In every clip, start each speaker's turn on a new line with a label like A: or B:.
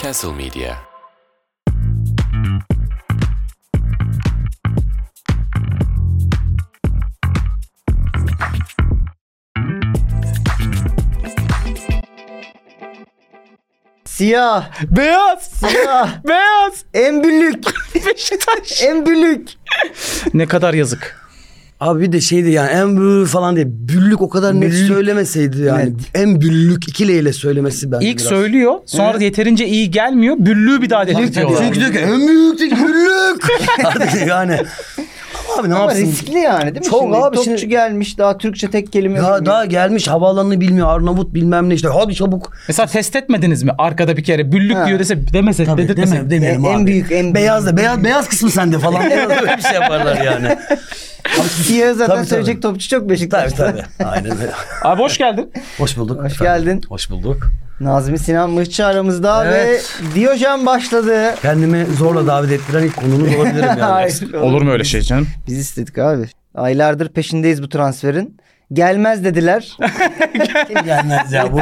A: Castle Media.
B: Siyah.
C: Beyaz.
B: Siyah.
C: Beyaz.
B: Embülük.
C: Beşiktaş.
B: Embülük.
C: ne kadar yazık.
D: Abi bir de şeydi yani en büllük falan diye büllük o kadar net
B: Büllük.
D: söylemeseydi yani.
B: Net.
D: En büllük iki leyle söylemesi bence
C: İlk
D: biraz.
C: söylüyor. Sonra yeterince iyi gelmiyor. Büllüğü bir daha
D: Büllük diyor.
C: dedirtiyorlar.
D: Çünkü diyor ki en büllük değil büllük. Artık yani. Ama abi ne
B: Ama
D: yapsın?
B: riskli yani değil mi?
D: Çok
B: şimdi?
D: abi
B: Topçu
D: şimdi-
B: gelmiş daha Türkçe tek kelime.
D: Ya
B: bilmiyor. E,
D: daha gelmiş havaalanını bilmiyor Arnavut bilmem ne işte hadi çabuk.
C: Mesela test etmediniz mi? Arkada bir kere büllük
B: Ha.
C: diyor dese E, demesek
D: Tabii
C: dedirtmesek.
D: deme, demeyelim
B: En- en
D: abi.
B: büyük, en büyük.
D: beyaz da beyaz beyaz kısmı sende falan. Öyle bir şey yaparlar yani.
B: Siyah zaten
D: Tabii,
B: söyleyecek
D: tabii.
B: topçu çok Beşiktaş'ta.
D: Tabii tabii. Aynen öyle.
C: Abi hoş geldin.
D: Hoş bulduk.
B: Hoş
D: efendim.
B: geldin.
D: Hoş bulduk.
B: Nazmi Sinan Mıhçı aramızda
D: Evet.
B: ve Diyojen başladı.
D: Kendimi zorla davet ettiren ilk konunuz olabilirim yani.
B: Hayır,
C: Olur mu öyle şey canım?
B: Biz istedik abi. Aylardır peşindeyiz bu transferin. Gelmez dediler.
D: Gelmez ya bu.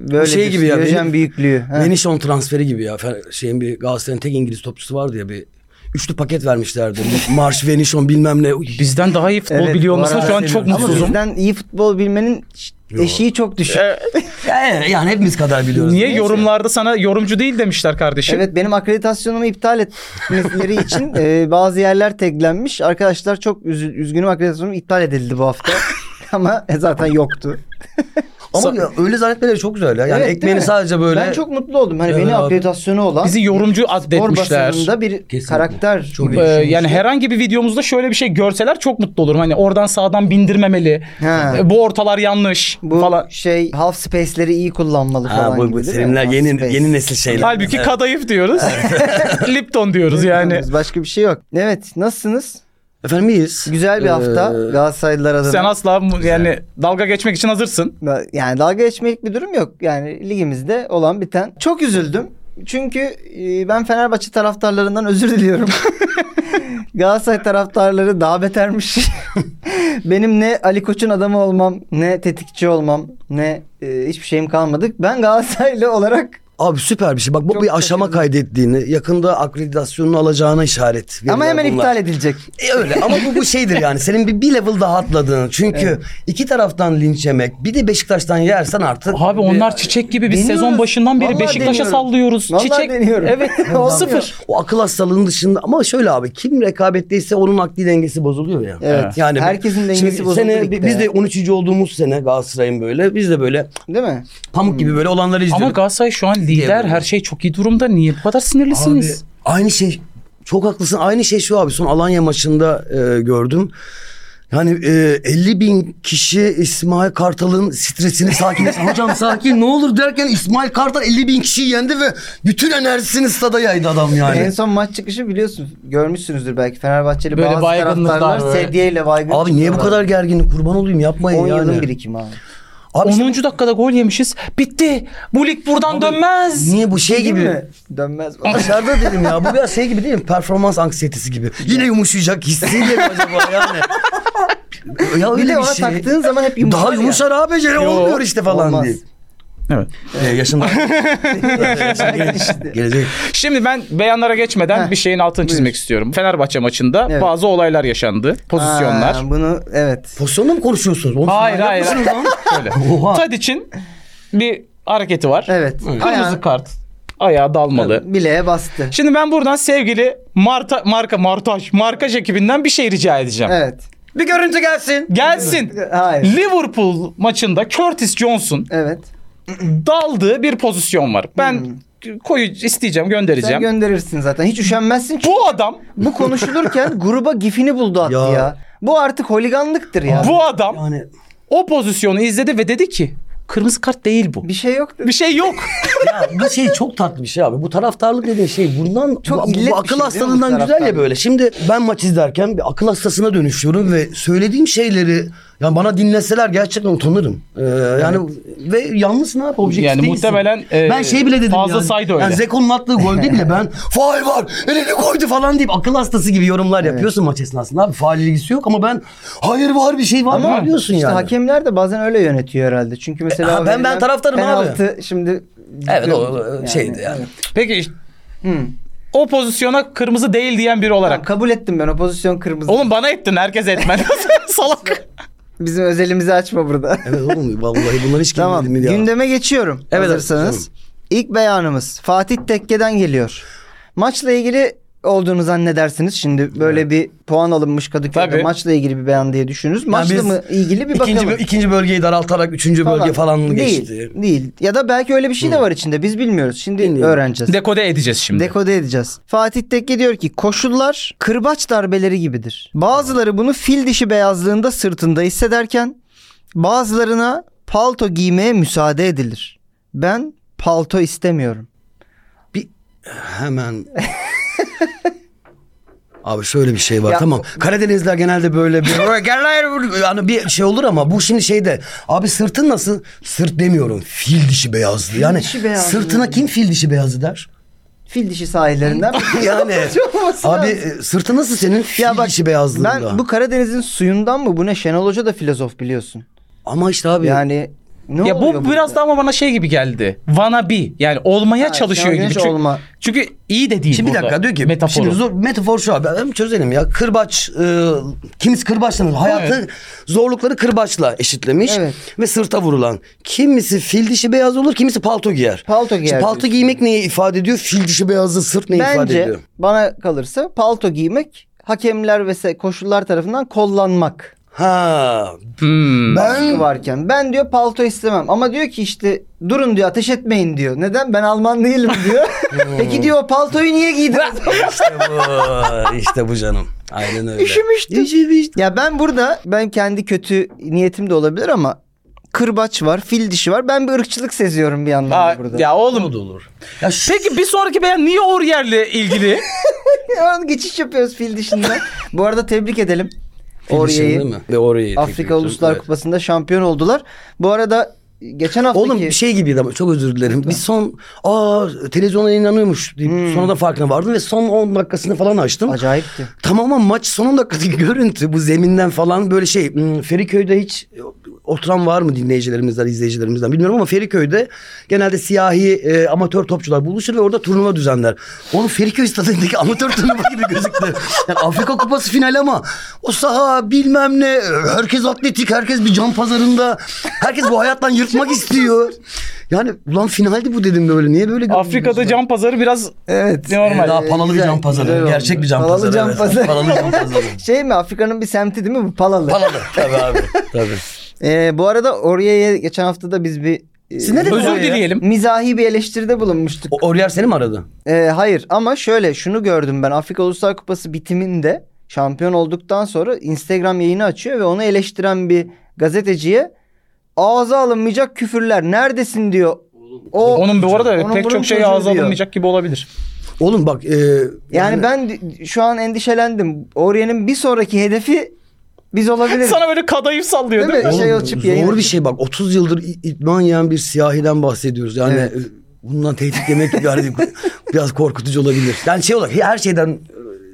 B: Böyle
D: şey
B: bir
D: gibi ya,
B: Diyojen
D: benim-
B: büyüklüğü. Ha.
D: Menişon transferi gibi ya. Fer- Şeyin bir Galatasaray'ın tek İngiliz topçusu vardı ya bir üçlü paket vermişlerdi. Marş, Venişon bilmem ne. Uy,
C: Bizden daha iyi futbol
B: Evet,
C: biliyor
B: bu
C: olmasına
B: arada
C: şu an
D: seviyorum.
C: çok
D: Ama
B: Ama
C: mutsuzum.
B: bizden iyi futbol bilmenin eşiği çok düşük.
D: Ya, yani hepimiz kadar biliyoruz.
C: Niye yorumlarda sana yorumcu değil demişler kardeşim?
B: Evet benim akreditasyonumu iptal etmeleri için e, bazı yerler teklenmiş. Arkadaşlar çok üzü- üzgünüm akreditasyonum iptal edildi bu hafta. Ama e, zaten yoktu.
D: Ama ya, öyle zannetmeleri çok güzel ya. Yani
B: Evet, değil
D: ekmeğini
B: mi?
D: sadece böyle.
B: Ben çok mutlu oldum. Hani
D: Evet
B: beni
D: abi.
B: akreditasyonu olan
C: Bizi yorumcu
B: spor
C: addetmişler.
B: basınında bir
D: Kesinlikle.
B: karakter.
D: Çok
B: gibi
C: Ee,
B: düşünmüştüm.
C: yani herhangi bir videomuzda şöyle bir şey görseler çok mutlu olurum. Hani oradan sağdan bindirmemeli.
B: Ha.
C: Ee, Bu ortalar yanlış
B: bu
C: falan.
B: şey half space'leri iyi kullanmalı
D: Ha,
B: falan
D: bu,
B: gibi
D: bu
B: değil mi?
D: terimler
B: Half
D: yeni,
B: space.
D: yeni nesil şeyler.
C: Halbuki kadayıf diyoruz. Lipton diyoruz yani.
B: Başka bir şey yok. Evet nasılsınız?
D: Efendim iyiyiz.
B: Güzel bir
D: Ee,
B: hafta Galatasaraylılar adına.
C: Sen asla mu- yani dalga geçmek için hazırsın.
B: Da- Yani dalga geçmelik bir durum yok. Yani ligimizde olan biten. Çok üzüldüm. Çünkü e, ben Fenerbahçe taraftarlarından özür diliyorum. Galatasaray taraftarları daha betermiş. Benim ne Ali Koç'un adamı olmam, ne tetikçi olmam, ne e, hiçbir şeyim kalmadı. Ben Galatasaraylı olarak
D: Abi süper bir şey. Bak bu
B: Çok
D: bir aşama
B: şaşırdım.
D: kaydettiğini, yakında akreditasyonunu alacağına işaret.
B: ama
D: verirler
B: hemen
D: bunlar.
B: iptal edilecek.
D: E öyle ama bu, bu şeydir yani senin bir, bir level daha atladığın. Çünkü iki taraftan linç yemek bir de Beşiktaş'tan yersen artık.
C: Abi onlar çiçek gibi. Biz
B: Deniyoruz.
C: sezon başından beri
B: Vallahi
C: Beşiktaş'a
B: deniyorum.
C: sallıyoruz.
B: Vallahi
C: çiçek.
B: deniyorum.
C: Evet.
B: Olmuyor.
C: Sıfır.
D: O akıl hastalığının dışında ama şöyle abi kim rekabetteyse onun akli dengesi bozuluyor ya.
B: Evet. Herkesin
D: şimdi
B: dengesi bozuldu
D: Sene,
B: ligde
D: biz de
B: ya.
D: 13. olduğumuz sene Galatasaray'ın böyle biz de böyle
B: Değil mi?
D: pamuk gibi böyle olanları izliyorduk.
C: Ama Galatasaray şu an lider.
D: Diyemiyorum.
C: Her şey çok iyi durumda. Niye bu kadar
D: Abi,
C: sinirlisiniz?
D: aynı şey çok haklısın aynı şey şu abi son Alanya maçında e, gördüm. Yani e, 50 bin kişi İsmail Kartal'ın stresini sakin hocam sakin ne olur derken İsmail Kartal 50 bin kişiyi yendi ve bütün enerjisini stada yaydı adam
B: En
D: yani.
B: son maç çıkışı biliyorsun görmüşsünüzdür belki Fenerbahçeli
C: Böyle
B: bazı
C: baygınlıklar
B: taraftarlar
C: böyle.
B: sedyeyle baygın.
D: Abi niye bu
B: çıkıyorlar.
D: kadar gerginim kurban olayım yapmayın
B: 10
D: yani.
B: yılın birikimi abi.
D: Abi işte
C: 10. dakikada gol yemişiz. Bitti. Bu lig buradan dönmez.
D: niye bu şey
B: Değil
D: gibi
B: mi? Dönmez.
D: Dışarıda dedim ya bu biraz şey gibi değil mi? Performans anksiyetesi gibi. Yine yumuşayacak hissiyle mi acaba yani? ya
B: Bir
D: öyle
B: de
D: bir
B: ona
D: şey.
B: taktığın zaman hep yumuşar
D: Daha
B: ya.
D: yumuşar abi Ceren olmuyor işte falan
B: Olmaz.
D: diye.
C: Evet.
D: Ee, yaşında. Gelecek.
C: Şimdi ben beyanlara geçmeden bir şeyin altını çizmek istiyorum. Fenerbahçe maçında
B: Evet.
C: bazı olaylar yaşandı. Pozisyonlar.
B: Ha, bunu evet.
D: Pozisyonla mı konuşuyorsunuz? Oğlum,
C: Hayır
D: manyak
C: hayır.
D: mısınız lan?
C: Şöyle.
D: Oha.
C: Tadic'in bir hareketi var.
B: Evet.
C: Kırmızı kart. Ayağa dalmalı.
B: Bileğe bastı.
C: Şimdi ben buradan sevgili Marta, marka Martaş, markaj ekibinden bir şey rica edeceğim.
B: Evet.
D: Bir görüntü gelsin.
C: Gelsin.
B: Hayır.
C: Liverpool maçında Curtis Johnson
B: Evet.
C: daldığı bir pozisyon var. Ben koyu isteyeceğim,
B: Sen
C: göndereceğim.
B: gönderirsin zaten. Hiç üşenmezsin. Çünkü
C: bu adam,
B: bu konuşulurken gruba gifini buldu attı ya.
D: Ya.
B: Bu artık holiganlıktır ya.
C: bu adam
D: Yani
C: o pozisyonu izledi ve dedi ki kırmızı kart değil bu.
B: Bir şey yok.
C: Bir şey yok.
D: ya bu şey çok tatlı bir şey abi. Bu taraftarlık dediğin şey bundan
B: Çok
D: bu- bu,
B: illet bir şey
D: akıl
B: değil mi bu
D: hastalığından güzel
B: taraftarlık?
D: ya böyle. Şimdi ben maç izlerken bir akıl hastasına dönüşüyorum ve söylediğim şeyleri yani bana dinleseler gerçekten utanırım. Ee, yani ve yalnız ne yap objektif
C: Yani
D: değilsin.
C: muhtemelen, e,
D: ben şey bile dedim
C: fazla
D: yani.
C: saydı öyle.
D: Yani Zeko'nun attığı golde bile ben faal var elini koydu falan deyip akıl hastası gibi yorumlar yapıyorsun maç esnasında abi. Faal ilgisi yok ama ben hayır var bir şey var mı yapıyorsun
B: İşte
D: yani. E,
B: hakemler de bazen öyle yönetiyor herhalde. Çünkü mesela
D: Ha, ben- ben
B: verilen
D: taraftarım abi.
B: penaltı, Şimdi
D: Evet o
B: Yani,
D: şeydi yani.
C: Peki işte
B: Hı.
C: o pozisyona kırmızı değil diyen biri olarak.
B: Tamam, kabul ettim ben o pozisyon kırmızı.
C: Oğlum bana ettin herkes etmen. Salak.
B: Bizim özelimizi açma burada.
D: Evet oğlum vallahi bunlar hiç
B: tamam
D: girmedim ya.
B: gündeme geçiyorum.
D: Evet,
B: hazırsanız. İlk beyanımız Fatih Tekke'den geliyor. Maçla ilgili olduğunu zannedersiniz. Şimdi böyle bir puan alınmış Kadıköy'de
C: Tabii.
B: maçla ilgili bir beyan diye düşünürüz. Maçla
D: biz
B: mı ilgili bir
D: İkinci,
B: bakalım.
D: ikinci bölgeyi daraltarak üçüncü bölge falan geçti.
B: Değil, değil. Ya da belki öyle bir şey de var içinde. Biz bilmiyoruz. Şimdi
D: Bilmiyorum.
B: öğreneceğiz.
C: Dekode edeceğiz şimdi.
B: Dekode edeceğiz. Fatih Tekke diyor ki koşullar kırbaç darbeleri gibidir. Bazıları bunu fil dişi beyazlığında sırtında hissederken bazılarına palto giymeye müsaade edilir. Ben palto istemiyorum.
D: Hemen. Abi şöyle bir şey var
B: Ya-
D: tamam. Karadenizler genelde böyle bir yani bir şey olur ama bu şimdi şeyde abi sırtın nasıl? Sırt demiyorum. Fil dişi beyazlı. Yani
B: dişi beyazlı.
D: sırtına kim fil dişi beyazı der?
B: Fil dişi sahillerinden.
D: Yani
B: Olması
D: abi
B: lazım.
D: e, sırtı nasıl senin? Fil
B: ya bak
D: dişi beyazlığında.
B: ben bu Karadeniz'in suyundan mı bu ne Şenol Hoca da filozof biliyorsun.
D: Ama işte abi
B: Yani ne
C: Ya
B: oluyor
C: bu biraz
B: burada?
C: da ama bana şey gibi geldi. Wanna be. Yani olmaya
B: Ha, Şenol
C: çalışıyor gibi.
B: Güneş
C: Çünkü,
B: olma.
C: çünkü iyi de değil
D: Şimdi bir
C: burada.
D: dakika diyor ki
C: Metaforu.
D: Şimdi zor, metafor şu abi hem çözelim ya kırbaç e, kimisi kırbaçlanır hayatı
C: Evet.
D: zorlukları kırbaçla eşitlemiş
B: Evet.
D: ve sırta vurulan. Kimisi fil dişi beyaz olur kimisi palto giyer.
B: Palto
D: Şimdi
B: giyer
D: palto
B: diyorsun.
D: giymek neyi ifade ediyor fil dişi beyazı sırt neyi ifade
B: Bence
D: ediyor?
B: bana kalırsa palto giymek hakemler ve se- koşullar tarafından kollanmak.
D: Ha
C: Hmm.
B: baskı
D: ben
B: varken. Ben diyor palto istemem ama diyor ki işte durun diyor ateş etmeyin diyor. Neden? Ben Alman değilim diyor. Peki diyor o paltoyu niye giydin?
D: işte bu işte bu canım aynen öyle.
B: Üşümüştüm.
D: Üşümüştüm.
B: ya ben burada ben kendi kötü niyetim de olabilir ama kırbaç var, fil dişi var. Ben bir ırkçılık seziyorum bir yandan
C: Aa,
B: da burada.
C: ya
D: Oğlum
C: oğlum.
D: da olur. Ya şu
C: Peki bir sonraki beyan niye Oryer'le ilgili?
B: Hemen geçiş yapıyoruz fil dişinden. Bu arada tebrik edelim.
D: fil dişi değil
B: Orayı
D: mi? Ve orayı
B: Afrika Uluslar
D: Evet.
B: Kupası'nda şampiyon oldular. Bu arada geçen haftaki
D: Oğlum bir şey gibiydi ama çok özür dilerim. Biz son aa televizyona yayınlanıyormuş deyip
B: Hmm.
D: sonradan farkına vardım ve son 10 dakikasını falan açtım.
B: acayipti.
D: Tamamen maç son 10 dakikadaki görüntü bu zeminden falan böyle şey hmm, Feriköy'de hiç oturan var mı dinleyicilerimizden izleyicilerimizden bilmiyorum ama Feriköy'de genelde siyahi e, amatör topçular buluşur ve orada turnuva düzenler. Oğlum Feriköy stadındaki amatör turnuva gibi gözüktü. Yani Afrika Kupası finali ama o saha bilmem ne herkes atletik herkes bir can pazarında herkes bu hayattan yırtmak istiyor. Yani ulan finaldi bu dedim böyle niye böyle
C: Afrika'da
D: can
C: cam pazarı biraz
B: Evet.
C: normal.
D: Ee, daha palalı bir
B: Güzel,
D: can pazarı.
B: güzel
D: Gerçek
B: oldu.
D: bir can
B: Palalı
D: pazarı.
B: can
D: evet.
B: pazarı.
D: Palalı can pazarı.
B: Şey mi Afrika'nın bir semti değil mi bu Palalı?
D: Palalı tabii abi. Tabii.
B: Ee, bu arada Oriye'ye geçen hafta da biz bir e,
D: Siz ne dediniz
C: Özür
D: oraya?
C: dileyelim.
B: mizahi bir eleştiride bulunmuştuk.
D: O- Oriyer seni mi aradı?
B: Ee, hayır ama şöyle şunu gördüm ben Afrika Uluslar Kupası bitiminde şampiyon olduktan sonra Instagram yayını açıyor ve onu eleştiren bir gazeteciye ağza alınmayacak küfürler neredesin diyor. O,
C: Onun bu arada
B: onun
C: pek
B: bunun
C: çok şey
B: çocuğu
C: ağza
B: diyor.
C: alınmayacak gibi olabilir.
D: Oğlum bak. E,
B: Yani ben d- şu an endişelendim. Oriye'nin bir sonraki hedefi biz olabiliriz.
C: Sana böyle kadayıf sallıyor değil,
B: Değil mi?
C: mi?
D: Oğlum,
B: şey açıp yayın
D: Zor bir
B: açıp-
D: şey bak. 30 yıldır i- idman yiyen bir siyahiden bahsediyoruz. Yani
B: Evet.
D: e, bundan tehdit yemek gibi hani biraz korkutucu olabilir. Yani şey olarak her şeyden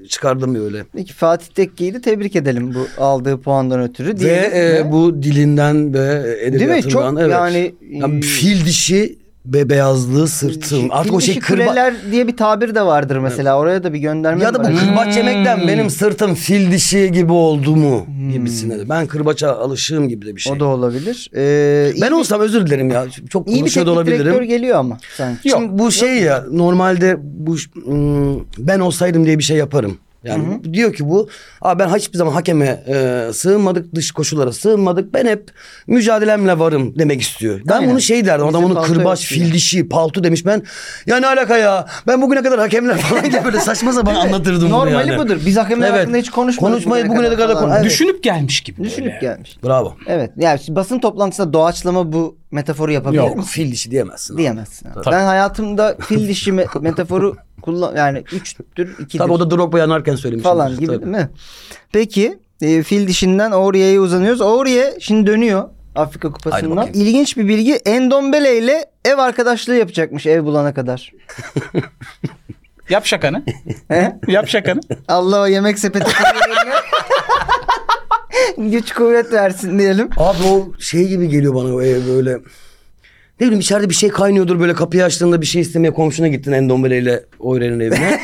D: e, çıkardım öyle.
B: Peki Fatih Tekke'yi de tebrik edelim bu aldığı puandan ötürü.
D: Ve
B: Diyelim
D: e,
B: ve-
D: bu dilinden ve edebiyatından.
B: Çok
D: evet.
B: yani, e,
D: fil dişi ve beyazlığı sırtım. Artık o
B: Fil
D: şey
B: dişi
D: kırba...
B: kuleler diye bir tabir de vardır mesela. Oraya da bir gönderme
D: Ya da bu
B: var.
D: kırbaç
C: Hmm.
D: yemekten benim sırtım fil dişi gibi oldu mu gibisine de. Ben kırbaça alışığım gibi de bir şey.
B: Hmm. O da olabilir. Ee, iyi
D: Ben
B: bir-
D: olsam özür dilerim ya. Çok
B: iyi bir
D: konuşuyor da
B: teknik direktör
D: olabilirim.
B: geliyor ama sanki.
D: Şimdi bu şey ya normalde bu ım, ben olsaydım diye bir şey yaparım. Yani diyor ki bu Aa ben hiçbir zaman hakeme e, sığınmadık dış koşullara sığınmadık ben hep mücadelemle varım demek istiyor. Ben
B: Aynen.
D: bunu şey derdim adam
B: Bizim
D: onu
B: palto
D: kırbaç
B: yok diye.
D: fil dişi paltu demiş ben ya ne alaka ya ben bugüne kadar hakemler falan diye böyle saçma sapan anlatırdım bunu
B: Normali
D: yani.
B: budur. Biz hakemler
D: Evet.
B: hakkında hiç konuşmadık.
D: Konuşmayı bugüne kadar
B: falan.
D: konu- Evet.
C: Düşünüp gelmiş gibi.
B: Düşünüp
C: böyle.
B: gelmiş.
D: Bravo.
B: Evet. Yani şimdi basın toplantısında doğaçlama bu metaforu yapabilir
D: Yok
B: misin?
D: fil dişi diyemezsin. abi.
B: Diyemezsin. abi. Ben hayatımda fil dişi me- metaforu kullan yani 3'tür 2'dir.
D: Tabii o da Drogba yanarken söylemiş.
B: falan gibi değil mi? Peki e, fil dişinden Oğriye'ye uzanıyoruz. Oğriye şimdi dönüyor Afrika Kupası'ndan.
D: bakayım.
B: İlginç bir bilgi Endombele ile ev arkadaşlığı yapacakmış ev bulana kadar.
C: Yap şakanı.
B: He?
C: Yap şakanı.
B: Allah o yemek sepeti güç kuvvet versin diyelim.
D: Abi o şey gibi geliyor bana e, böyle Ne bileyim içeride bir şey kaynıyordur böyle kapıyı açtığında bir şey istemeye komşuna gittin Endombele ile Oyren'in evine.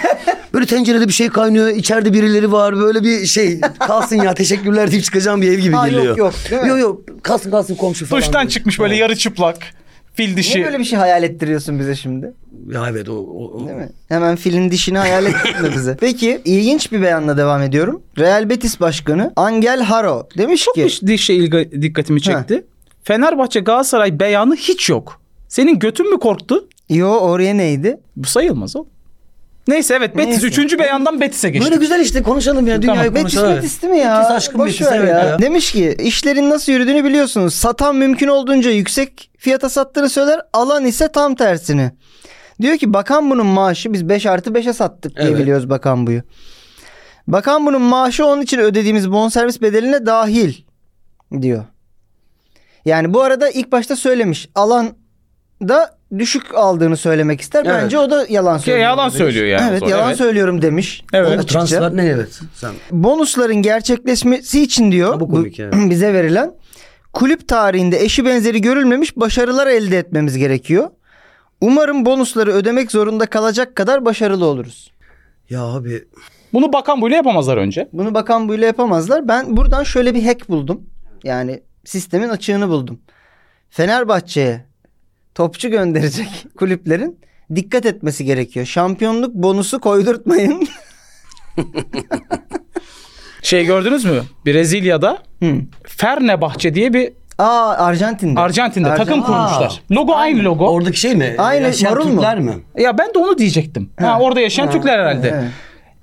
D: Böyle tencerede bir şey kaynıyor. içeride birileri var. Böyle bir şey kalsın ya teşekkürler deyip çıkacağım bir ev gibi
B: Ha, yok,
D: geliyor.
B: yok, değil mi?
D: Yok yok kalsın kalsın komşu falan.
C: Duştan
D: diyor.
C: çıkmış böyle yarı çıplak. Fil dişi.
B: Niye böyle bir şey hayal ettiriyorsun bize şimdi?
D: Ya evet o. o- o-
B: Değil mi? Hemen filin dişini hayal etme bize. Peki ilginç bir beyanla devam ediyorum. Real Betis Başkanı Angel Haro demiş
C: Çok
B: ki...
C: bir di- şey ilgi- dikkatimi çekti. Fenerbahçe Galatasaray beyanı hiç yok. Senin götün mü korktu?
B: Yo oraya neydi?
C: Bu sayılmaz oğlum. Neyse evet Betis.
B: Neyse.
C: Üçüncü beyandan Betis'e geçtik.
D: Böyle güzel işte konuşalım ya dünyayı
C: Tamam,
B: Betis
D: konuşalım.
B: Betis değil mi ya?
D: Betis aşkım
B: Boş
D: Betis,
B: ver
D: evet ya.
B: Demiş ki işlerin nasıl yürüdüğünü biliyorsunuz. Satan mümkün olduğunca yüksek fiyata sattığını söyler. Alan ise tam tersini. Diyor ki bakan bunun maaşı biz 5 artı 5'e sattık diye
D: Evet.
B: biliyoruz bakan buyu. Bakan bunun maaşı onun için ödediğimiz bonservis bedeline dahil diyor. Yani bu arada ilk başta söylemiş. Alan da düşük aldığını söylemek ister.
D: Evet.
B: Bence o da yalan söylüyor.
C: yalan
B: demiş.
C: söylüyor yani o
B: Evet
C: zaman,
B: yalan
C: evet.
B: söylüyorum demiş.
C: Evet.
B: Onu
D: O
B: açıkça
D: transfer ne evet. Sen
B: bonusların gerçekleşmesi için diyor
D: Ha, bu komik evet.
B: bize verilen kulüp tarihinde eşi benzeri görülmemiş başarılar elde etmemiz gerekiyor. Umarım bonusları ödemek zorunda kalacak kadar başarılı oluruz.
D: Ya abi
C: Bunu bakan böyle yapamazlar önce.
B: Bunu bakan buyla yapamazlar. Ben buradan şöyle bir hack buldum. Yani sistemin açığını buldum. Fenerbahçe'ye topçu gönderecek kulüplerin dikkat etmesi gerekiyor. Şampiyonluk bonusu koydurtmayın.
C: Şey gördünüz mü? Brezilya'da
B: Hı.
C: Fernebahçe diye bir
B: Hmm. Aa Arjantin'de.
C: Arjantin'de takım
B: Arjantin-
C: kurmuşlar. Logo aynı logo.
D: oradaki şey mi?
B: Aynı,
D: Yaşayan
B: marul mu?
D: Türkler mi?
C: Ya ben de onu diyecektim. Ha, orada yaşayan Türkler herhalde.
B: evet.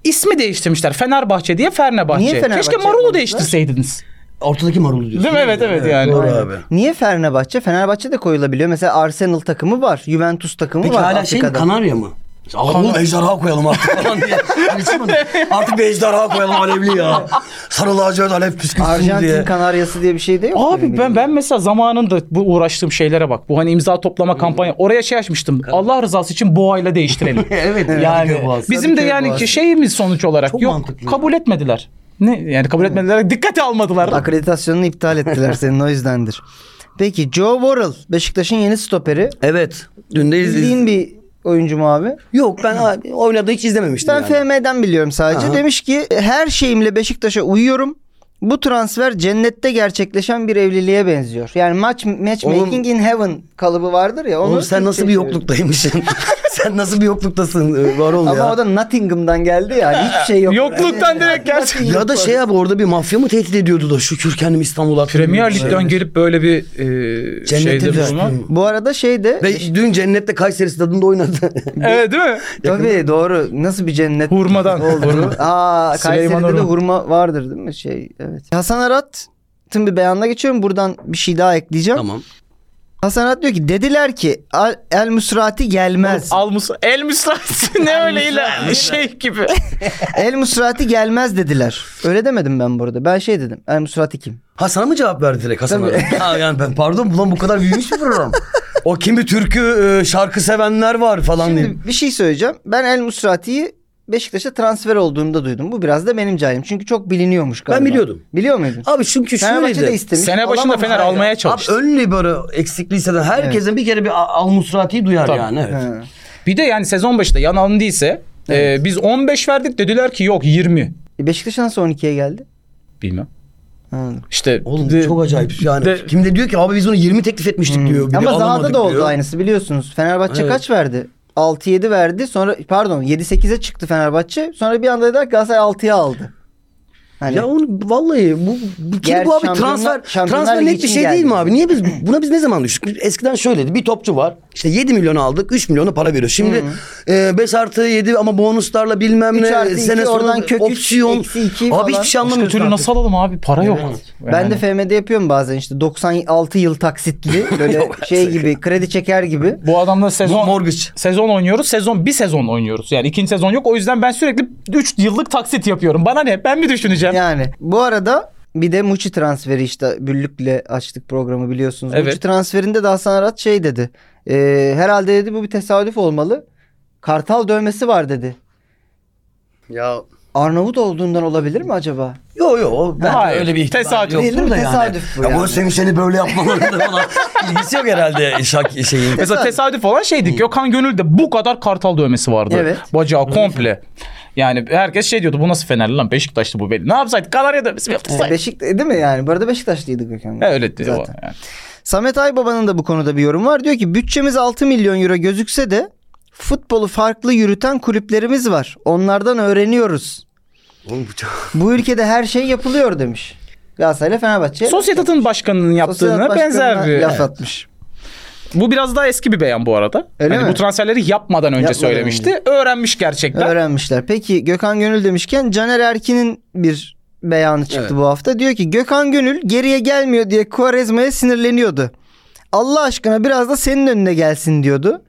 C: İsmi değiştirmişler. Fenerbahçe diye Fernebahçe.
B: Niye Fenerbahçe
C: Keşke Marul'u
B: yapmamışlar?
C: değiştirseydiniz.
D: Ortadaki marulu diyorsun.
C: Değil mi? Evet, evet yani.
D: Doğru
C: Aynen.
D: abi.
B: Niye Fenerbahçe? Fenerbahçe de koyulabiliyor. Mesela Arsenal takımı var. Juventus takımı
D: Peki
B: var.
D: hala şey mi?
B: Afrika'da.
D: Kanarya mı? Oğlum ejderha koyalım artık falan diye. Hani çıkmadı. artık bir ejderha koyalım alevli ya. Sarı lacivert alev püskürsün
B: Arjantin
D: diye.
B: Kanaryası diye bir şey de yok.
C: Abi
B: benim
C: ben
B: bildiğim.
C: ben mesela zamanında bu uğraştığım şeylere bak. Bu hani imza toplama kampanya. Oraya şey açmıştım. Allah rızası için boğayla değiştirelim.
D: Evet,
C: yani
D: Kadıköy Boğazı.
C: bizim de
B: Kadıköy
C: yani
B: Boğazı.
C: ki şeyimiz sonuç olarak
D: Çok
C: yok
D: mantıklı.
C: kabul etmediler. Ne yani kabul etmediler. Dikkate almadılar.
B: Akreditasyonunu iptal ettiler senin o yüzdendir. Peki Joe Worrell Beşiktaş'ın yeni stoperi.
D: Evet. Dün de izledim.
B: Bildiğin bir oyuncu mu abi?
D: Yok ben ha, oynadığı hiç izlememiştim
B: Ben
D: yani.
B: FM'den biliyorum sadece.
D: Aha.
B: Demiş ki her şeyimle Beşiktaş'a uyuyorum. Bu transfer cennette gerçekleşen bir evliliğe benziyor. Yani maç matchmaking in heaven kalıbı vardır ya. onu
D: Oğlum sen nasıl bir yokluktaymışsın? sen nasıl bir yokluktasın e, var ol
B: Ama
D: ya.
B: o da Nottingham'dan geldi ya. Hiçbir şey yok.
C: Yokluktan direkt gerçek.
D: Ya da şey abi orada bir mafya mı tehdit ediyordu da şükür kendimi İstanbul'a attım.
C: Premier Lig'den gelip böyle bir e,
D: Cennete
C: şeydir
D: düştüm.
C: bulmak.
B: Bu arada şey de
D: Ve dün Cennet'te Kayseri stadında oynadı.
C: Evet değil mi?
B: Tabii doğru. Nasıl bir cennet
C: Hurmadan.
B: oldu? Aa
C: Süleyman
B: Kayseri'de de
C: Hurma.
B: hurma vardır değil mi? Şey evet. Hasan Arat'ın bir beyanına geçiyorum. Buradan bir şey daha ekleyeceğim.
D: tamam.
B: Hasan Arat diyor ki dediler ki Al- El Musrati gelmez.
C: Al Musa. El Musrati ne öyle ila- şey gibi.
B: El Musrati gelmez dediler. Öyle demedim ben burada. Ben şey dedim. El Musrati kim?
D: Ha sana mı cevap verdi direkt Hasan
B: Tabii.
D: abi? Ha, yani ben pardon ulan bu kadar büyümüş bir program. O kimi türkü e, şarkı sevenler var falan diye.
B: Şimdi bir şey söyleyeceğim. Ben El Musrati'yi Beşiktaş'a transfer olduğunda duydum. Bu biraz da benim cahilim. Çünkü çok biliniyormuş galiba.
D: biliyordum.
B: Biliyor muydun?
D: Abi çünkü
B: Fenerbahçe de
D: şöyleydi.
B: istemiş.
C: Sene başında
B: Alamam
C: Fener
B: hala.
C: almaya
D: Abi
C: çalıştı.
D: ön libero eksikliği hisseden herkesin bir kere bir Al Musrati'yi duyar
C: Tabii.
D: yani. Evet.
B: He.
C: Bir de yani sezon başında yan alındıysa e, biz 15 verdik dediler ki yok 20.
B: E Beşiktaş nasıl 12'ye geldi?
C: Bilmem.
B: Anladım.
C: İşte
D: Oğlum
C: de-
D: çok acayip yani.
C: de- Hmm.
D: Kim de diyor ki abi biz onu 20 teklif etmiştik diyor. Bir de
B: Ama Zaha'da
D: alamadık
B: da oldu
D: diyor.
B: aynısı biliyorsunuz. Fenerbahçe
D: Evet.
B: kaç verdi? 6-7 verdi. Sonra pardon 7-8'e çıktı Fenerbahçe. Sonra bir anda dediler ki Galatasaray 6'ya aldı. Hani
D: Ya onu vallahi bu bu, kim
B: Gerçi
D: bu abi
B: Şampiyonlar-
D: transfer
B: Şampiyonlar
D: transfer
B: Ligi
D: net bir
B: için
D: şey değil mi
B: geldi.
D: abi? Niye biz buna biz ne zaman düştük? Eskiden şöyleydi. Bir topçu var. İşte 7 milyon aldık. 3 milyonu para veriyor. Şimdi 5 artı 7 ama bonuslarla bilmem
B: 3
D: ne
B: artı iki,
D: sene
B: oradan
D: sonra
B: kök üç,
D: opsiyon.
B: eksi iki falan.
D: abi hiçbir şey
C: Başka
D: anlamıyoruz.
C: türlü
D: artık.
C: nasıl alalım abi? Para yok.
D: Evet.
C: Yani.
B: ben de FM'de yapıyorum bazen işte 96 yıl taksitli böyle şey gibi kredi çeker gibi.
C: bu adamla sezon
D: Mortgage.
C: sezon oynuyoruz. Sezon bir sezon oynuyoruz. Yani ikinci sezon yok. O yüzden ben sürekli 3 yıllık taksit yapıyorum. Bana ne? Ben mi düşüneceğim?
B: Yani bu arada bir de Muçi transferi işte Büllük'le açtık programı biliyorsunuz.
C: Evet.
B: Muçi transferinde de Hasan Arat şey dedi. Ee, herhalde dedi bu bir tesadüf olmalı. Kartal dövmesi var dedi.
D: Ya
B: Arnavut olduğundan olabilir mi acaba?
D: Yo yo o ben
C: Hayır,
D: öyle bir ihtimal
C: tesadüf.
D: yoktur
B: Değil mi?
D: da
B: Tesadüf bu
D: Ya
B: yani.
D: bu senin seni böyle yapmalarında falan ilgisi yok herhalde şak şeyin.
C: Mesela tesadüf olan şeydi. Gökhan Gönül'de bu kadar kartal dövmesi vardı.
B: Evet.
C: Bacağı komple. Yani herkes şey diyordu bu nasıl Fenerli lan Beşiktaşlı bu belli. Ne yapsaydık Kanarya dövmesi mi
B: Yani
C: yaptırsaydık?
B: Beşik değil mi yani? Bu arada Beşiktaşlıydı Gökhan.
C: Ha, öyle diyor.
B: Zaten.
C: Yani.
B: Samet Aybaba'nın da bu konuda bir yorum var. Diyor ki bütçemiz 6 milyon euro gözükse de futbolu farklı yürüten kulüplerimiz var. Onlardan öğreniyoruz.
D: Oğlum bu çok-
B: Bu ülkede her şey yapılıyor demiş. Galatasaray ile Fenerbahçe.
C: Sosyetat'ın başkanının
B: E, Sosyal
C: yaptığına
B: başkanına
C: benzer bir.
B: Laf atmış.
C: Bu biraz daha eski bir beyan bu arada.
B: Öyle
C: Hani
B: mi?
C: bu transferleri yapmadan önce
B: Yapmadan
C: söylemişti. Öğrenmiş gerçekten.
B: Öğrenmişler. Peki Gökhan Gönül demişken Caner Erkin'in bir beyanı çıktı
D: Evet.
B: bu hafta. Diyor ki Gökhan Gönül geriye gelmiyor diye Kuarezma'ya sinirleniyordu. Allah aşkına biraz da senin önüne gelsin diyordu.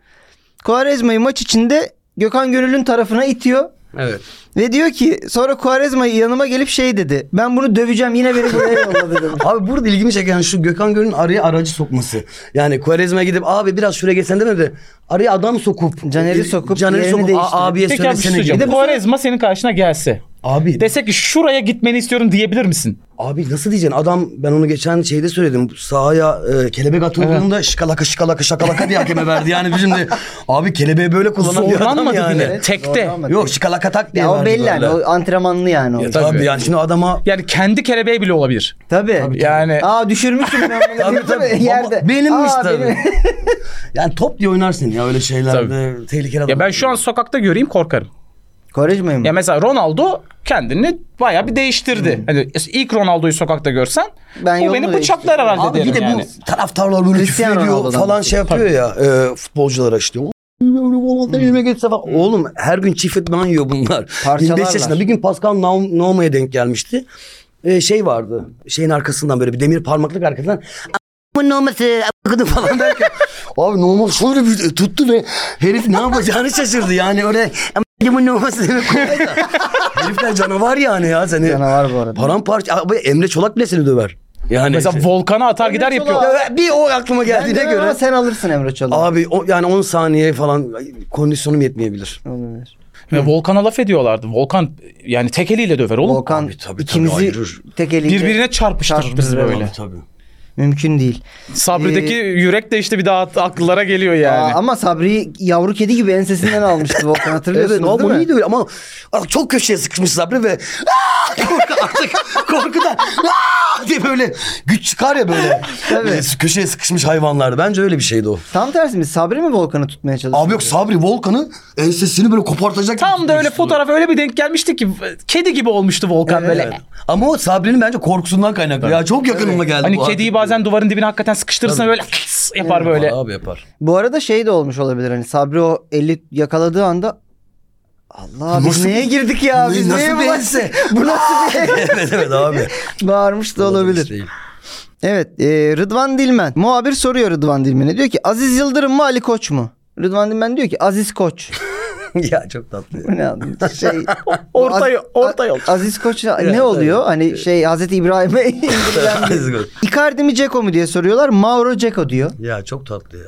B: Kuarezma'yı maç içinde Gökhan Gönül'ün tarafına itiyor.
D: Evet.
B: Ve diyor ki sonra Kuarezma yanıma gelip şey dedi. Ben bunu döveceğim yine beni buraya yolladı dedi.
D: Abi burada ilgimi çeken şu Gökhan Gönül'ün araya aracı sokması. Yani Kuarezma'ya gidip abi biraz şuraya geçsen demedi. Araya adam sokup.
B: Caner'i sokup
D: Caner'i
B: yerini
D: sokup
B: değiştirip.
D: "Aa, abiye
C: Peki abi bir şey
D: söylesene.
C: söyleyeceğim.
D: Bir de bu
C: Quaresma senin karşına gelse.
D: Abi,
C: Desek ki şuraya gitmeni istiyorum diyebilir misin?
D: abi nasıl diyeceksin? Adam ben onu geçen şeyde söyledim. Sahaya e, kelebek atıldığında şıkalaka şıkalaka şakalaka diye hakeme verdi. Yani bizim de abi kelebeği böyle kullanan bir adam
C: Zorlanmadı
D: yani.
C: bile. Tekte.
B: Zorlanmadı.
D: Yok şıkalaka tak diye
B: Ya o
D: verdi
B: belli yani.
D: böyle.
B: O antrenmanlı yani. O.
D: Ya tabii.
C: Tabii.
D: yani şimdi adama
C: Yani kendi kelebeği bile olabilir.
B: Tabii.
C: Yani
B: Aa düşürmüşüm ben bunu.
D: Tabii tabii.
B: Yerde.
D: Baba- Benimmiş
B: Aa,
D: tabii.
B: benim.
D: yani top diye oynarsın ya öyle şeylerde tehlikeli adam.
C: ya ben şu an sokakta göreyim korkarım.
B: Kuarezma'yı mı?
C: Ya mesela Ronaldo kendini bayağı bir değiştirdi. Hani ilk Ronaldo'yu sokakta görsen
B: Ben
C: bu
B: yolunu
C: beni bıçaklar
B: değiştirdim.
C: herhalde
D: Abi
C: derim
D: bir de bu
C: yani.
D: taraftarlar böyle küfür
B: Cristiano
D: ediyor
B: Ronaldo'dan
D: falan
B: bahsediyor.
D: şey yapıyor ya e, futbolculara işte. "Oğlum, Ronaldo
B: Hmm.
D: elime geçse falan. Oğlum her gün çift etmen yiyor bunlar.
B: Parçalarlar.
D: 25 yaşında bir gün Pascal Naum- Nauma'ya denk gelmişti. E, şey vardı şeyin arkasından böyle bir demir parmaklık arkasından. "A**ın Nauma'sı a**ını" falan derken. Abi Nauma sonra bir tuttu ve herif ne yapacağını şaşırdı yani öyle. "A**ın Nauma'sı" demek kolay da. Herifler canavar yani ya seni.
B: Canavar bu arada.
D: Paramparça. Abi Emre Çolak bile seni döver. Yani
C: Mesela
D: işte-
C: volkana atar gider yapıyor.
D: Ya bir o aklıma
B: Ben
D: geldiğine
B: demem ama
D: göre.
B: sen alırsın Emre Çolak.
D: Abi o, yani 10 saniye falan kondisyonum yetmeyebilir.
B: Olabilir.
C: Ve Volkan'a laf ediyorlardı. Volkan yani tek eliyle döver oğlum.
B: Volkan
D: Abi tabii, tabii,
B: ikimizi
D: ayırır.
B: tek eliyle
C: Birbirine çarpıştırır bizi
B: Çarptırır,
C: böyle.
D: Tabii.
B: mümkün değil.
C: Sabri'deki
B: Ee,
C: yürek de işte bir daha akıllara geliyor yani.
B: Aa, ama Sabri yavru kedi gibi ensesinden almıştı Volkan hatırlıyorsunuz
D: Evet ama
B: değil
D: bu
B: mi?
D: neydi öyle ama artık çok köşeye sıkışmış Sabri ve "Aa!" korku artık korkudan "Aa!" diye böyle güç çıkar ya böyle.
B: Tabii.
D: Ee, Köşeye sıkışmış hayvanlar. Bence öyle bir şeydi o.
B: Tam tersi mi? Sabri mi Volkan'ı tutmaya çalışıyor?
D: Abi yok Sabri Volkan'ı ensesini böyle kopartacak.
C: Tam da öyle fotoğraf öyle bir denk gelmişti ki kedi gibi olmuştu Volkan böyle.
D: şey Ama o Sabri'nin bence korkusundan kaynaklı. Ya çok yakınıma geldi.
C: Hani
D: bu
C: kediyi
D: artık.
C: bazen duvarın dibine hakikaten sıkıştırırsan böyle kıs yapar böyle.
D: Abi yapar.
B: Bu arada şey de olmuş olabilir hani Sabri o eli yakaladığı anda Allah biz
D: Nasıl-
B: neye girdik ya?
D: Ne-
B: Biz
D: nasıl
B: neye
D: bir
B: bulaştık?
D: ense?
B: Bu nasıl bir
D: evet evet abi.
B: Bağırmış da olabilir.
D: İşte-
B: Evet e, Rıdvan Dilmen. Muhabir soruyor Rıdvan Dilmen'e. Diyor ki Aziz Yıldırım mı Ali Koç mu? Rıdvan Dilmen diyor ki Aziz Koç.
D: ya çok tatlı. ya.
B: Bu ne adı? Şey,
C: Orta yol-
B: Az-
C: orta yol.
B: Aziz Koç ne oluyor? Hani şey Hazreti İbrahim'e indirilen bir- Icardi mi Ceko mu diye soruyorlar. Mauro Ceko diyor.
D: ya çok tatlı ya.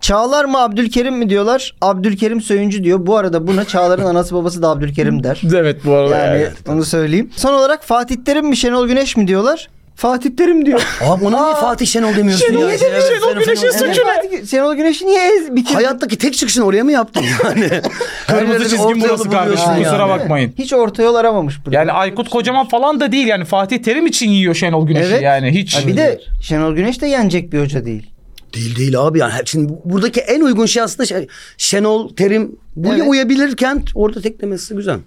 B: Çağlar mı Abdülkerim mi diyorlar. Abdülkerim Söyüncü diyor. Bu arada buna Çağlar'ın anası babası da Abdülkerim der.
C: Evet bu arada.
B: Yani
C: yani.
B: onu söyleyeyim. Son olarak Fatih Terim mi Şenol Güneş mi diyorlar. Fatih Terim diyor.
D: Abi ona niye Fatih Şenol demiyorsun
C: Şenol
D: ya?
C: demiş, Şenol Güneş'in
D: Şenol-
C: suçu.
B: Yani
D: Evet.
C: ne?
B: Fatih Gü- Şenol Güneş'i niye ez bitirdi?
D: Hayattaki tek çıkışını oraya mı yaptın yani?
C: Kırmızı
D: Kariyerin
C: çizgim
D: orta
C: burası
D: yolu
C: kardeşim
D: buluyorsun
C: kusura
D: yani.
C: bakmayın.
B: Hiç orta yol aramamış burada.
C: Yani Aykut Kocaman falan da değil yani Fatih Terim için yiyor Şenol Güneş'i
B: Evet.
C: yani hiç.
B: Ha bir de Şenol Güneş de yenecek bir hoca değil.
D: Değil değil abi yani. Şimdi bu- buradaki en uygun şey aslında şey- Şenol, Terim. Buraya
B: Evet.
D: uyabilirken orada teklemesi güzel.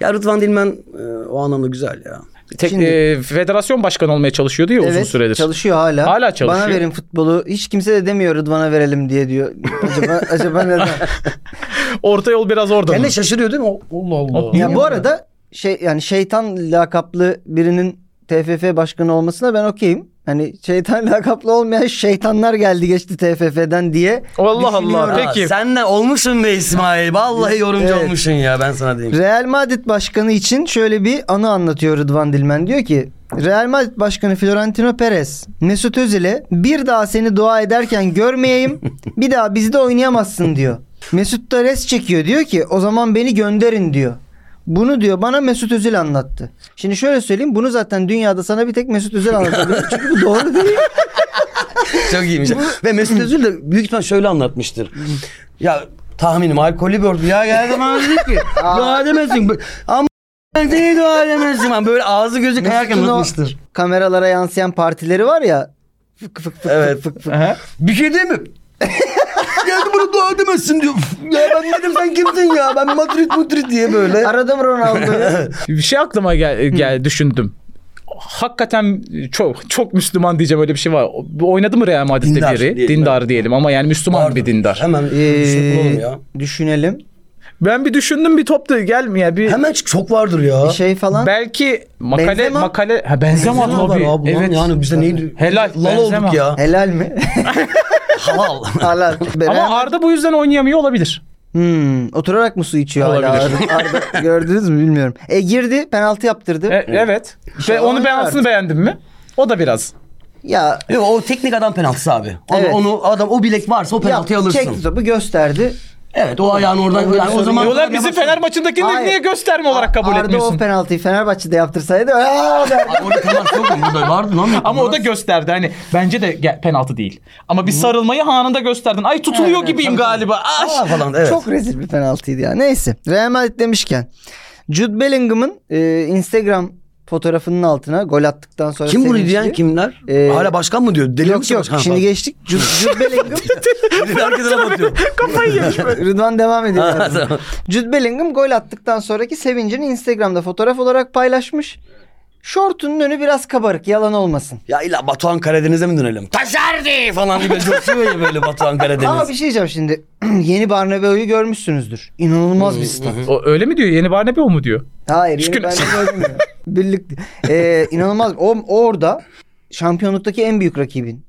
D: Ya Rıdvan Dilmen e, o anlamda güzel ya.
C: Tek,
B: Şimdi-
C: e, federasyon başkanı olmaya çalışıyor diyor uzun süredir.
B: çalışıyor hala.
C: Hala çalışıyor.
B: Bana verin futbolu. Hiç kimse de demiyor Rıdvan'a verelim diye diyor. Acaba, acaba neden?
C: Orta yol biraz orada.
D: Ben
C: mı?
D: de şaşırıyor değil mi? O- Allah Allah.
B: ya bu arada şey yani şeytan lakaplı birinin TFF başkanı olmasına ben okeyim. Hani şeytan lakaplı olmayan şeytanlar geldi geçti TFF'den diye.
C: Allah Allah.
D: Ha,
C: Peki.
D: Sen de olmuşsun be İsmail. Vallahi yorumcu
B: Evet.
D: olmuşsun ya ben sana diyeyim.
B: Real Madrid başkanı için şöyle bir anı anlatıyor Rıdvan Dilmen. Diyor ki Real Madrid başkanı Florentino Perez Mesut Özil'e bir daha seni dua ederken görmeyeyim bir daha bizde oynayamazsın diyor. Mesut da res çekiyor diyor ki o zaman beni gönderin diyor. Bunu diyor bana Mesut Özil anlattı. Şimdi şöyle söyleyeyim bunu zaten dünyada sana bir tek Mesut Özil anlatabilir. Çünkü bu doğru değil.
D: Çok iyiymiş. Ve Mesut Özil de büyük ihtimal şöyle anlatmıştır. ya tahminim alkolü bir Ya geldi bana dedi ki dua edemezsin. Bu- Ama neyi dua edemezsin? Ben böyle ağzı gözü kayarken
B: Mesut'un o
D: anlatmıştır.
B: kameralara yansıyan partileri var ya. Fık fık fık
D: Evet.
B: fık fık.
C: Aha.
D: Bir şey değil mi? geldi bana dua edemezsin diyor. ya ben dedim sen kimsin ya? Ben Madrid Madrid diye böyle.
B: Aradım Ronaldo'yu.
C: Bir şey aklıma gel, gel düşündüm. Hakikaten çok çok Müslüman diyeceğim öyle bir şey var. O- Oynadı mı Real Madrid'de
D: Dindar
C: biri?
D: diyelim,
C: Dindar diyelim ama yani Müslüman bir dindar.
D: Hemen
B: Ee,
D: ee... ya.
B: düşünelim.
C: Ben bir düşündüm bir top da gelmiyor. bir
D: Hemen çok vardır ya.
B: Şey falan.
C: belki makale
B: Benzema.
C: makale ha benzema,
D: Benzema var
C: abi.
D: abi.
C: evet.
D: Evet. Yani bize neydi?
C: Helal,
D: Lal
C: Benzema.
D: olduk ya.
B: Helal mi?
D: Halal.
B: Halal.
C: Ama Arda bu yüzden oynayamıyor olabilir.
B: Hmm, oturarak mı su içiyor hala?
C: Olabilir.
B: Arda- Arda- gördünüz mü bilmiyorum. E girdi penaltı yaptırdı.
C: E, evet. Ve onu ben
B: oynar.
C: aslında beğendim mi? O da biraz.
B: Ya
D: Yok o teknik adam penaltısı abi. Onu,
B: Evet.
D: onu adam o bilek varsa o penaltıyı
B: ya,
D: alırsın.
B: çekti topu gösterdi.
D: Evet o ayağını oradan yani o zaman
C: Diyorlar bizi Fener maçındakini
B: Hayır.
C: niye gösterme olarak kabul
B: Arda o
C: etmiyorsun?
B: penaltıyı Fenerbahçe'de yaptırsaydı aa derdi.
D: Abi orada penaltı yok mu? Burada vardı lan.
C: Ama o da gösterdi hani bence de ge- penaltı değil. Ama bir sarılmayı anında gösterdin. Ay tutuluyor gibiyim galiba. Ah! Ay.
D: Aa, falan evet.
B: Çok rezil bir penaltıydı ya. Neyse. Real Madrid demişken. Jude Bellingham'ın e, Instagram fotoğrafının altına gol attıktan sonra
D: Kim bunu
B: sevinçli-
D: diyen kimler?
B: Ee,
D: Hala başkan mı diyor? Deli
B: Yok
D: misin
B: yok.
D: başkan?
B: Şimdi geçtik. Jude, Jude Bellingham
D: Herif Arkasına batıyor.
C: Kafayı yemiş böyle.
B: Rıdvan devam ediyor.
D: Tamam.
B: Jude Bellingham gol attıktan sonraki sevincini Instagram'da fotoğraf olarak paylaşmış. Şortunun önü biraz kabarık yalan olmasın.
D: ya illa Batuhan Karadeniz'e mi dönelim? Taşerdi falan gibi coşuyor ya böyle Batuhan
B: Ama
D: Karadeniz.
B: bir şey diyeceğim şimdi. Yeni Barnabeu'yu görmüşsünüzdür. İnanılmaz bir stat.
C: O, öyle mi diyor? Yeni Barnabeu mu diyor?
B: Hayır
C: Şükür.
B: yeni Barnabeu görmüyor. Birlikte. Ee, inanılmaz. O, o orada şampiyonluktaki en büyük rakibin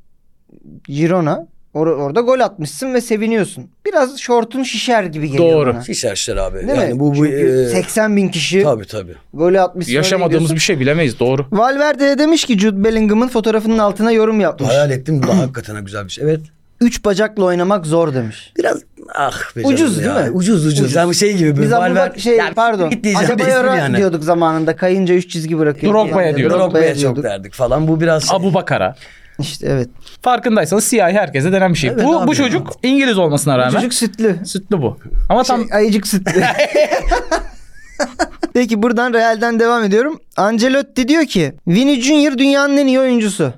B: Girona. Or- orada gol atmışsın ve seviniyorsun. Biraz şortun şişer gibi geliyor
C: Doğru.
B: bana.
D: Şişerşler abi.
B: Değil
D: yani
B: mi?
D: bu bu
B: Çünkü
D: e,
B: 80 bin kişi
D: tabii tabii.
B: golü atmış. sonra
C: Yaşamadığımız
B: gidiyorsun.
C: bir şey bilemeyiz doğru.
B: Valverde de demiş ki Jude Bellingham'ın fotoğrafının altına yorum yapmış.
D: Hayal ettim daha hakikaten ha, güzel bir şey. Evet.
B: Üç bacakla oynamak zor demiş.
D: Biraz ah be
B: Ucuz
D: canım ya.
B: değil mi?
D: Ucuz ucuz.
B: Ucuz.
D: Yani şey gibi.
B: Biz
D: Valver-
B: Abubak şey
D: Ya,
B: pardon.
D: git diyeceğim de
B: Adebayor'a
D: ismini yani.
B: diyorduk zamanında kayınca üç çizgi bırakıyor.
C: Drogba'ya
B: Yani
C: diyoruz.
D: Drogba'ya çok
B: diyorduk.
D: derdik falan. Bu biraz şey.
C: Abu Bakara.
B: İşte evet.
C: Farkındaysanız siyahi herkese denen bir şey.
D: Evet
C: bu
D: abi
C: bu
D: ya.
C: çocuk İngiliz olmasına rağmen.
B: Çocuk sütlü.
C: Sütlü bu. Ama tam
B: Şey, ayıcık sütlü. Peki buradan Real'den devam ediyorum. Ancelotti diyor ki Vini Junior dünyanın en iyi oyuncusu.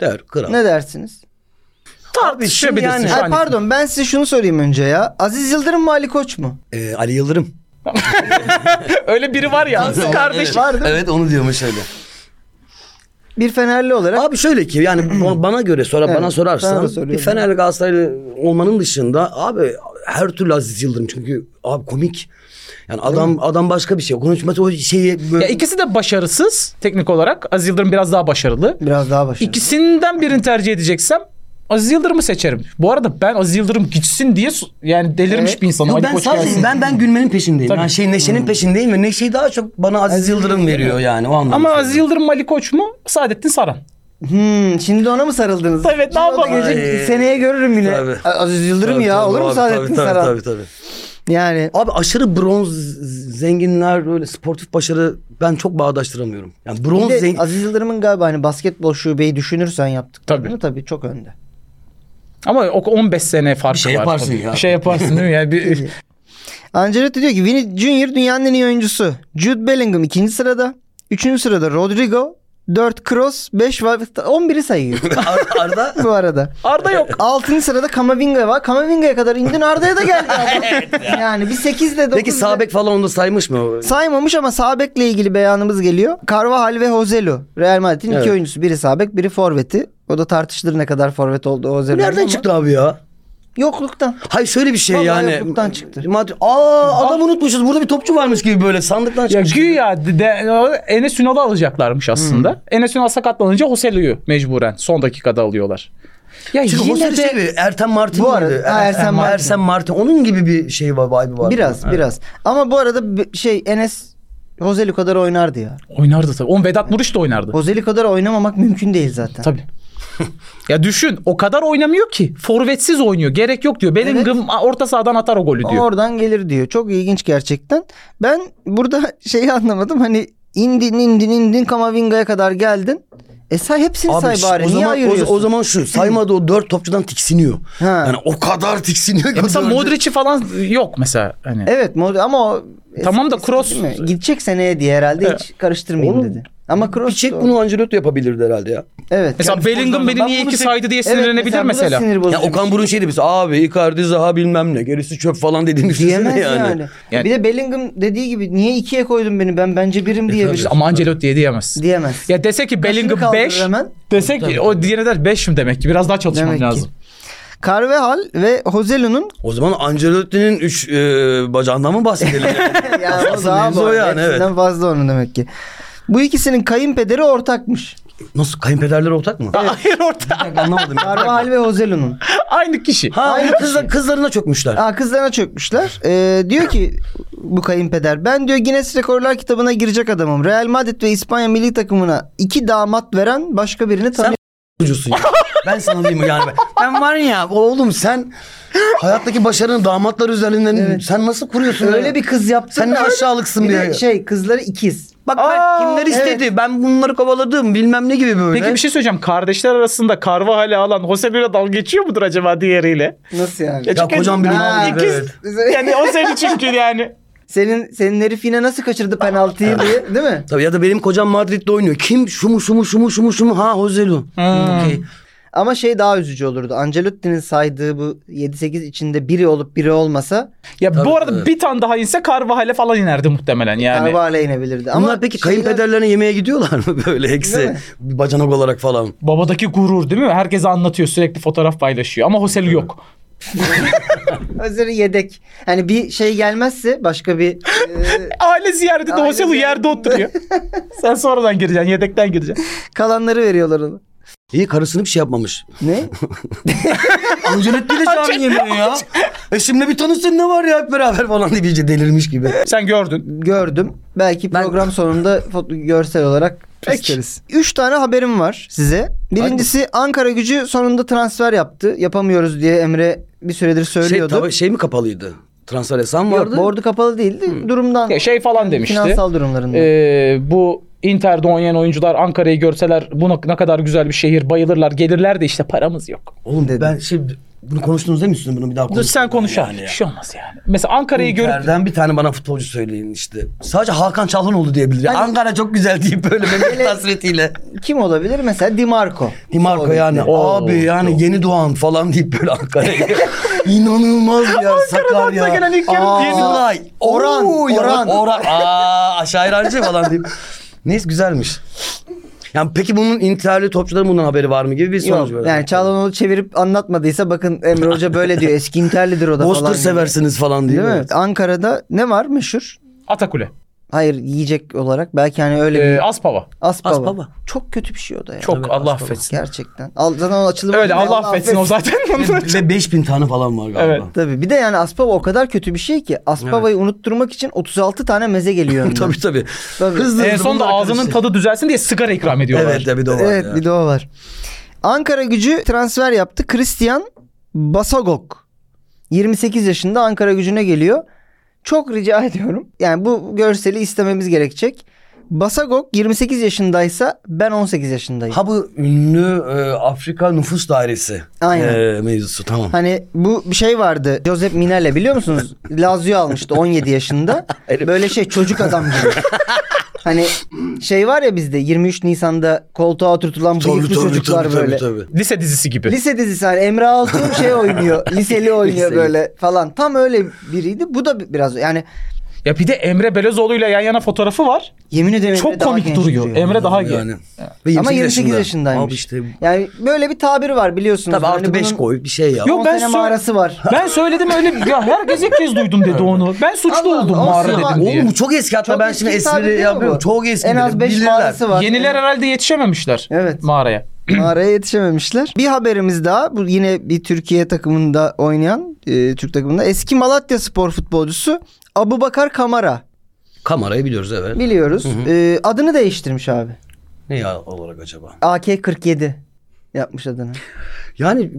D: Der, kral.
B: Ne dersiniz?
C: tartışabilirsin
D: Abi şimdi
C: şu
B: Ay,
C: an.
B: pardon ben size şunu sorayım önce ya. Aziz Yıldırım mı Ali Koç mu?
D: Ee, Ali Yıldırım. Şey-
C: Öyle biri var ya kardeşim.
B: var değil mi?
D: Evet onu diyormuş öyle.
B: Bir Fenerli olarak.
D: Abi şöyle ki yani ba- bana göre sonra
B: Evet,
D: bana
B: sana da
D: sorarsan
B: soruyorum.
D: bir Fenerli Galatasaraylı olmanın dışında abi her türlü Aziz Yıldırım çünkü abi komik. Yani adam adam başka bir şey. Konuşması o şeyi böyle
C: Ya ikisi de başarısız teknik olarak. Aziz Yıldırım biraz daha başarılı.
B: Biraz daha başarılı.
C: İkisinden birini tercih edeceksem Aziz Yıldırım'ı seçerim. Bu arada ben Aziz Yıldırım gitsin diye su- yani delirmiş
B: Evet.
C: bir insanım.
D: Yok,
C: Ali
D: ben
C: Koç
D: sadece
C: gelsin.
D: ben ben gülmenin peşindeyim.
C: Tabii.
D: Yani şey neşenin peşindeyim ve neşeyi daha çok bana Aziz, Yıldırım veriyor yani o anlamda.
C: Ama
D: söylüyorum.
C: Aziz Yıldırım Ali Koç mu? Saadettin Saran.
B: Hmm, şimdi ona mı sarıldınız?
C: Evet, ne
B: Şimdi o da
C: yapalım?
B: gelecek,
D: Ay.
B: seneye görürüm yine.
D: Tabii.
B: A- Aziz Yıldırım
D: Tabii,
B: ya
D: tabii,
B: olur mu
D: abi,
B: Saadettin
D: tabii,
B: Saran?
D: Tabii tabii.
B: Yani
D: Abi aşırı bronz zenginler böyle sportif başarı ben çok bağdaştıramıyorum. Yani
B: bir
D: bronz
B: de
D: zengin
B: Aziz Yıldırım'ın galiba hani basketbol şubeyi düşünürsen yaptık.
C: Tabii.
B: tabii çok önde.
C: Ama o 15 sene farkı var.
D: Bir şey yaparsın
C: tabii.
D: ya.
C: Bir şey yaparsın değil mi? Yani bir,
B: Ancelotti diyor ki Vini Junior dünyanın en iyi oyuncusu. Jude Bellingham ikinci sırada. Üçüncü sırada Rodrigo. Dört Kroos. Beş var. On biri sayıyor
D: Ar- Arda
B: bu arada.
C: Arda yok.
B: Altıncı sırada Kamavinga var. Kamavinga'ya kadar indin Arda'ya da geldi. adam. yani bir sekizle dokuzle.
D: Peki Sabek falan onu da saymış mı?
B: Saymamış ama Sabek'le ilgili beyanımız geliyor. Carvajal ve Hozelu. Real Madrid'in
D: Evet.
B: iki oyuncusu. Biri Sabek, biri forveti. O da tartışılır ne kadar forvet oldu Hozelu.
D: Bu nereden çıktı abi ya?
B: Yokluktan.
D: Hayır şöyle bir şey
B: Vallahi
D: yani.
B: yokluktan çıktı.
D: Madrid- Aa adam unutmuşuz. Burada bir topçu varmış gibi böyle sandıktan
C: Ya
D: çıkmış.
C: güya de, de- o Enes Ünal'ı alacaklarmış aslında.
D: Hmm.
C: Enes Ünal sakatlanınca Hoselu'yu mecburen son dakikada alıyorlar. Ya
D: Çünkü o
C: yine
D: sene şey
C: de
D: gibi, Ertem Martin
B: Bu arada-
D: vardı.
B: Ha, Ertem Martin.
D: Ertem Martin. Onun gibi bir şey var, vibe var.
B: Biraz biraz. Ama bu arada b- şey Enes Hozelu kadar oynardı ya.
C: oynardı tabii. Oğlum Vedat Muriç de oynardı.
B: Hozelu kadar oynamamak mümkün değil zaten.
C: Tabii. ya düşün o kadar oynamıyor ki. Forvetsiz oynuyor. Gerek yok diyor. Bellingham "Aa, orta sahadan atar o golü diyor.
B: Oradan gelir diyor. Çok ilginç gerçekten. Ben burada şeyi anlamadım. Hani indin indin indin Kamavinga'ya kadar geldin. E say hepsini say
D: şş,
B: bari.
D: o
B: Niye
D: zaman, o,
B: ayırıyorsun?
D: o zaman şu saymadı o dört topçudan tiksiniyor.
B: Ha. E
D: Yani o kadar tiksiniyor ki.
C: Ya
D: o
C: E mesela
D: dördü-
C: Modric'i falan yok mesela. Hani.
B: Evet Mod- ama o
C: Tamam da
B: eski-
C: Kroos-
B: değil mi? gidecek seneye diye herhalde hiç karıştırmayayım
D: Oğlum,
B: dedi. Ama Kroos
D: Bir çek
B: da-
D: bunu Ancelotti yapabilirdi herhalde ya.
B: Evet.
C: Mesela Bellingham beni
B: Ben
C: niye
B: bunu
C: iki
B: pek-
C: saydı diye
B: Evet,
C: sinirlenebilir mesela.
B: Bu da sinir bozucu.
D: Ya Okan Burun şey demiş abi Icardi Zaha bilmem ne gerisi çöp falan dediğini
B: diyemez
D: düşünsene
B: yani.
C: Yani-
B: Bir de Bellingham dediği gibi niye ikiye koydun beni ben bence
D: E
B: birim diyebilir.
C: İşte Ama Ancelotti diye diyemez.
B: Diyemez.
C: Ya dese ki
B: Kaşını
C: Bellingham 5
B: kaldırır hemen.
C: dese ki o diğerine der 5'im demek ki biraz daha çalışmam
B: Demek ki.
C: lazım.
B: Carvehal ve Hozelu'nun
D: O zaman Ancelotti'nin üç e, bacağından mı bahsedelim?
B: ya o
D: Asıl
B: daha
D: mevzu o
B: bu.
D: yani, evet.
B: Hepsinden fazla onun demek ki. Bu ikisinin kayınpederi ortakmış.
D: Nasıl kayınpederler ortak mı?
C: Hayır orta
D: Anlamadım.
B: Carvehal ve Hozelu'nun.
C: aynı kişi.
D: Ha
B: Aynı
D: aynı kızla, kızlarına çökmüşler.
B: Aa, kızlarına çökmüşler. Ee, diyor ki bu kayınpeder ben diyor Guinness Rekorlar kitabına girecek adamım. Real Madrid ve İspanya milli takımına iki damat veren başka birini tanıyor.
D: Ucusun ya. Ben sana diyeyim yani. Ben, ben var ya oğlum sen hayattaki başarını damatlar üzerinden sen nasıl kuruyorsun?
B: Öyle
D: ya?
B: bir kız yaptın.
D: Sen ne
B: da-
D: aşağılıksın
B: bir
D: diye.
B: de şey kızları ikiz.
D: Bak ben
C: Aa,
D: kimler istedi? Ben bunları kovaladım bilmem ne gibi böyle.
C: Peki bir şey söyleyeceğim. Kardeşler arasında Karva hala alan Jose Mourinho dalga geçiyor mudur acaba diğeriyle?
B: Nasıl yani?
D: Ya kocam benim
B: Ha,
D: abi.
C: İkiz-
D: Evet.
C: Yani o seni çünkü yani.
B: Senin senin herif yine nasıl kaçırdı penaltıyı diye değil mi?
D: Tabii ya da benim kocam Madrid'de oynuyor. Kim? Şu mu şu mu şu mu şu mu şu mu? Ha Hozelu. Okey.
B: Ama şey daha üzücü olurdu. Ancelotti'nin saydığı bu 7-8 içinde biri olup biri olmasa
C: Ya bu arada
D: evet.
C: bir tane daha inse Carvajal'e falan inerdi muhtemelen yani.
B: Carvalho inebilirdi. Ama
D: Bunlar peki
B: şeyler-
D: kayınpederlerine yemeğe gidiyorlar mı böyle
B: Değil
D: eksi
B: mi?
D: bacanak olarak falan?
C: Babadaki gurur değil mi? Herkese anlatıyor sürekli fotoğraf paylaşıyor ama Joselu yok.
B: Hazır yedek. Hani bir şey gelmezse başka bir e,
C: Aile ziyaretinde
B: Aile
C: Joselu yerde
B: ziyaretinde.
C: oturuyor. Sen sonradan gireceksin yedekten gireceksin.
B: kalanları veriyorlar ona.
D: İyi karısını bir şey yapmamış.
B: Ne?
D: Ancelotti de çağırın yemeğe ya. E şimdi bir tanışsın ne var ya hep beraber falan diye iyice delirmiş gibi.
B: Şey,
C: Sen gördün.
B: Gördüm. Belki program sonunda foto- görsel olarak isteriz. Üç tane haberim var size. Birincisi Ankara gücü sonunda transfer yaptı. Yapamıyoruz diye Emre bir süredir
D: Şey,
B: söylüyordu.
D: tabii şey mi kapalıydı? Transfer hesabı mı
B: Yok,
D: vardı?
B: bordu kapalı değildi. Durumdan.
C: Ya şey falan demişti.
B: Finansal durumlarından.
C: Ee, bu Inter'de oynayan oyuncular Ankara'yı görseler bu ne- ne kadar güzel bir şehir bayılırlar gelirler de işte paramız yok.
D: Oğlum
B: Dedi.
D: ben şimdi bunu konuştunuz değil mi üstüne bunu bir daha
C: Dur
D: konuşalım.
C: sen konuş abi. Bir şey olmaz yani. Mesela Ankara'yı görüp
D: Nereden bir tane bana futbolcu söyleyin işte. Sadece Hakan Çalhanoğlu diyebilir.
B: Hani-
D: ya. Ankara çok güzel deyip böyle memleket hasretiyle.
B: Kim olabilir? Mesela Dimarco.
D: Dimarco yani
C: Oo,
D: abi yani yeni doğan falan deyip böyle Ankara'ya İnanılmaz bir yer Sakarya.
C: gelen ilk yarı
D: Aa,
C: yeni-
D: Saray, Oran,
B: Oo, ya
D: Oran,
B: bak-
D: Oran. Aa, aşağı İrancı falan deyip. Neyse güzelmiş. Yani peki bunun interli topçuların bundan haberi var mı gibi bir sonuç
B: Yok,
D: böyle.
B: yani Çağlanoğlu çevirip anlatmadıysa bakın Emre Hoca böyle diyor. Eski interlidir o da falan.
D: Bozkır
B: diyor.
D: seversiniz falan diye.
B: Değil mi? Ankara'da ne var meşhur?
C: Atakule.
B: Hayır yiyecek olarak belki hani öyle
C: Ee,
B: bir
C: Aspava.
B: Aspava.
D: Aspava.
B: Çok kötü bir şey o da ya.
C: Çok
D: Tabii,
C: Allah
D: Aspava.
C: affetsin.
B: Gerçekten. Al, zaten o açılımı.
C: Öyle Allah affetsin o zaten.
D: Ve 5000 tane falan var galiba.
C: Evet.
B: Tabii bir de yani Aspava o kadar kötü bir şey ki Aspava'yı unutturmak için 36 tane meze geliyor. önüne.
D: tabii tabii.
B: Tabii.
D: Hızlı
C: en
D: hızlı
C: Ee, sonunda
D: bunlar
C: ağzının
D: karıştı.
C: tadı düzelsin diye sigara ikram ediyorlar.
D: Evet de bir de o var
B: Evet
D: ya.
B: bir de o var. Ankara gücü transfer yaptı. Christian Basagok. 28 yaşında Ankara gücüne geliyor. Çok rica ediyorum. Yani bu görseli istememiz gerekecek. Basagok 28 yaşındaysa ben 18 yaşındayım.
D: Ha bu ünlü e, Afrika Nüfus Dairesi
B: Aynen.
D: e, mevzusu tamam.
B: Hani bu bir şey vardı. Josep Minel'e biliyor musunuz? Lazio almıştı 17 yaşında. Böyle şey çocuk adam gibi. hani şey var ya bizde 23 Nisan'da koltuğa oturtulan bıyıklı çocuklar böyle.
C: Lise dizisi gibi.
B: Lise dizisi hani Emre Altun şey oynuyor. liseli oynuyor
D: Liseli.
B: böyle falan. Tam öyle biriydi. Bu da biraz yani
C: Ya bir de Emre Belezoğlu'yla yan yana fotoğrafı var.
B: yemin ederim Emre
C: Çok
B: daha
C: komik
B: genç
C: duruyor. Emre daha genç.
D: Yani. Ve
B: Ama 28 yaşındaymış.
D: Abi işte
B: Yani böyle bir tabir var biliyorsunuz.
D: tabii
B: Hani
D: artı 5
B: bunun
D: koy bir şey yap.
C: Yok,
B: on
C: ben
B: sene
C: sor-
B: mağarası var.
C: Ben söyledim öyle ya herkes ilk kez duydum dedi onu. Ben suçlu
B: Allah Allah,
C: oldum
B: o
C: mağara
B: zaman-
C: dedim diye.
D: Oğlum bu çok eski hatta
B: Çok
D: ben
B: eski
D: şimdi
B: tabir değil
D: espri
B: mi
D: yapıyorum.
B: bu?
D: Çok eski.
B: En az 5
D: bilirler.
B: mağarası var.
C: Yeniler herhalde yetişememişler
B: Evet.
C: mağaraya.
B: Mağaraya yetişememişler. Bir haberimiz daha. Bu yine bir Türkiye takımında oynayan e, Türk takımında eski Malatya spor futbolcusu Abubakar Kamara.
D: Kamerayı biliyoruz evet.
B: Biliyoruz. E, adını değiştirmiş abi.
D: Ne ya olarak acaba?
B: AK-47. yapmış adını.
D: Yani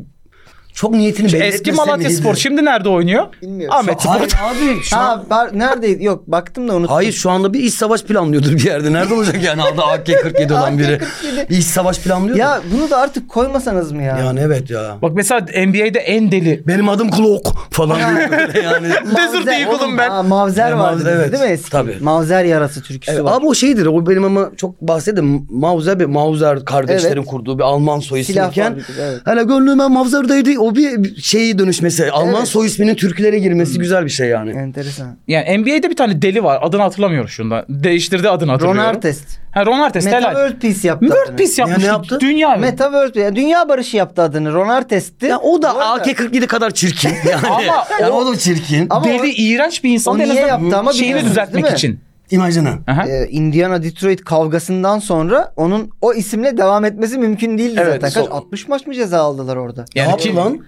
D: çok niyetini
B: Şey,
D: belli
C: Eski
D: etmese
C: Malatya
D: miydi?
C: Spor şimdi nerede oynuyor?
B: Bilmiyorum.
C: Ahmet Spor.
D: Hayır abi şu an-
B: Ha bar- neredeydi? Yok baktım da unuttum.
D: Hayır şu anda bir iç savaş planlıyordur bir yerde. Nerede olacak yani aldı AK-47 olan biri.
B: AK-47.
D: Bir iç savaş planlıyordur.
B: Ya bunu da artık koymasanız mı ya?
D: Yani evet ya.
C: Bak mesela NBA'de en deli.
D: Benim adım Klok falan diyor böyle yani.
C: Desert Eagle'ım
B: oğlum,
C: ben.
B: Aa, mavzer
D: Ya,
B: vardı
D: Mavzer,
B: bizde,
D: evet.
B: değil mi eski?
D: Tabii.
B: Mavzer yarası türküsü
D: Evet,
B: var.
D: ama o şeydir. O benim ama çok bahsedeyim. Mauser bir Mauser kardeşlerin
B: Evet.
D: kurduğu bir Alman soy
B: Silah
D: ismiyken.
B: fabrikası, evet.
D: Hala gönlüme Mauser'daydı. O bir şeyi dönüşmesi. Alman
B: Evet. Hmm.
D: soy isminin türkülere girmesi güzel bir şey yani.
B: Enteresan.
C: Yani NBA'de bir tane deli var. Adını hatırlamıyorum şundan. Değiştirdi adını
B: Ron
C: hatırlıyorum.
B: Artest.
C: Ha Ron Artest.
B: Meta
C: helal.
B: World Peace yaptı.
C: World
B: adını.
C: Peace
D: Ya ne
C: yapmış.
D: yaptı?
C: Dünya mı?
B: Meta World yani Dünya Barışı yaptı adını. Ron Artest'ti.
D: Ya o da
B: Bu arada-
D: AK-47 kadar çirkin. Yani.
C: Ama
D: Yani
C: o-
D: o da çirkin.
B: Ama
C: deli,
B: o-
C: iğrenç bir insan.
B: o
C: da en
B: niye
C: azından
B: yaptı ama
C: Şeyini
B: bilmiyoruz,
C: düzeltmek
B: değil mi?
C: için.
D: İmajını.
C: Aha.
B: Ee, Indiana Detroit kavgasından sonra onun o isimle devam etmesi mümkün değildi
C: Evet,
B: zaten. Kaç
C: so-
B: 60 maç mı ceza aldılar orada?
C: Yani
D: ne
C: ki-
D: yaptı lan?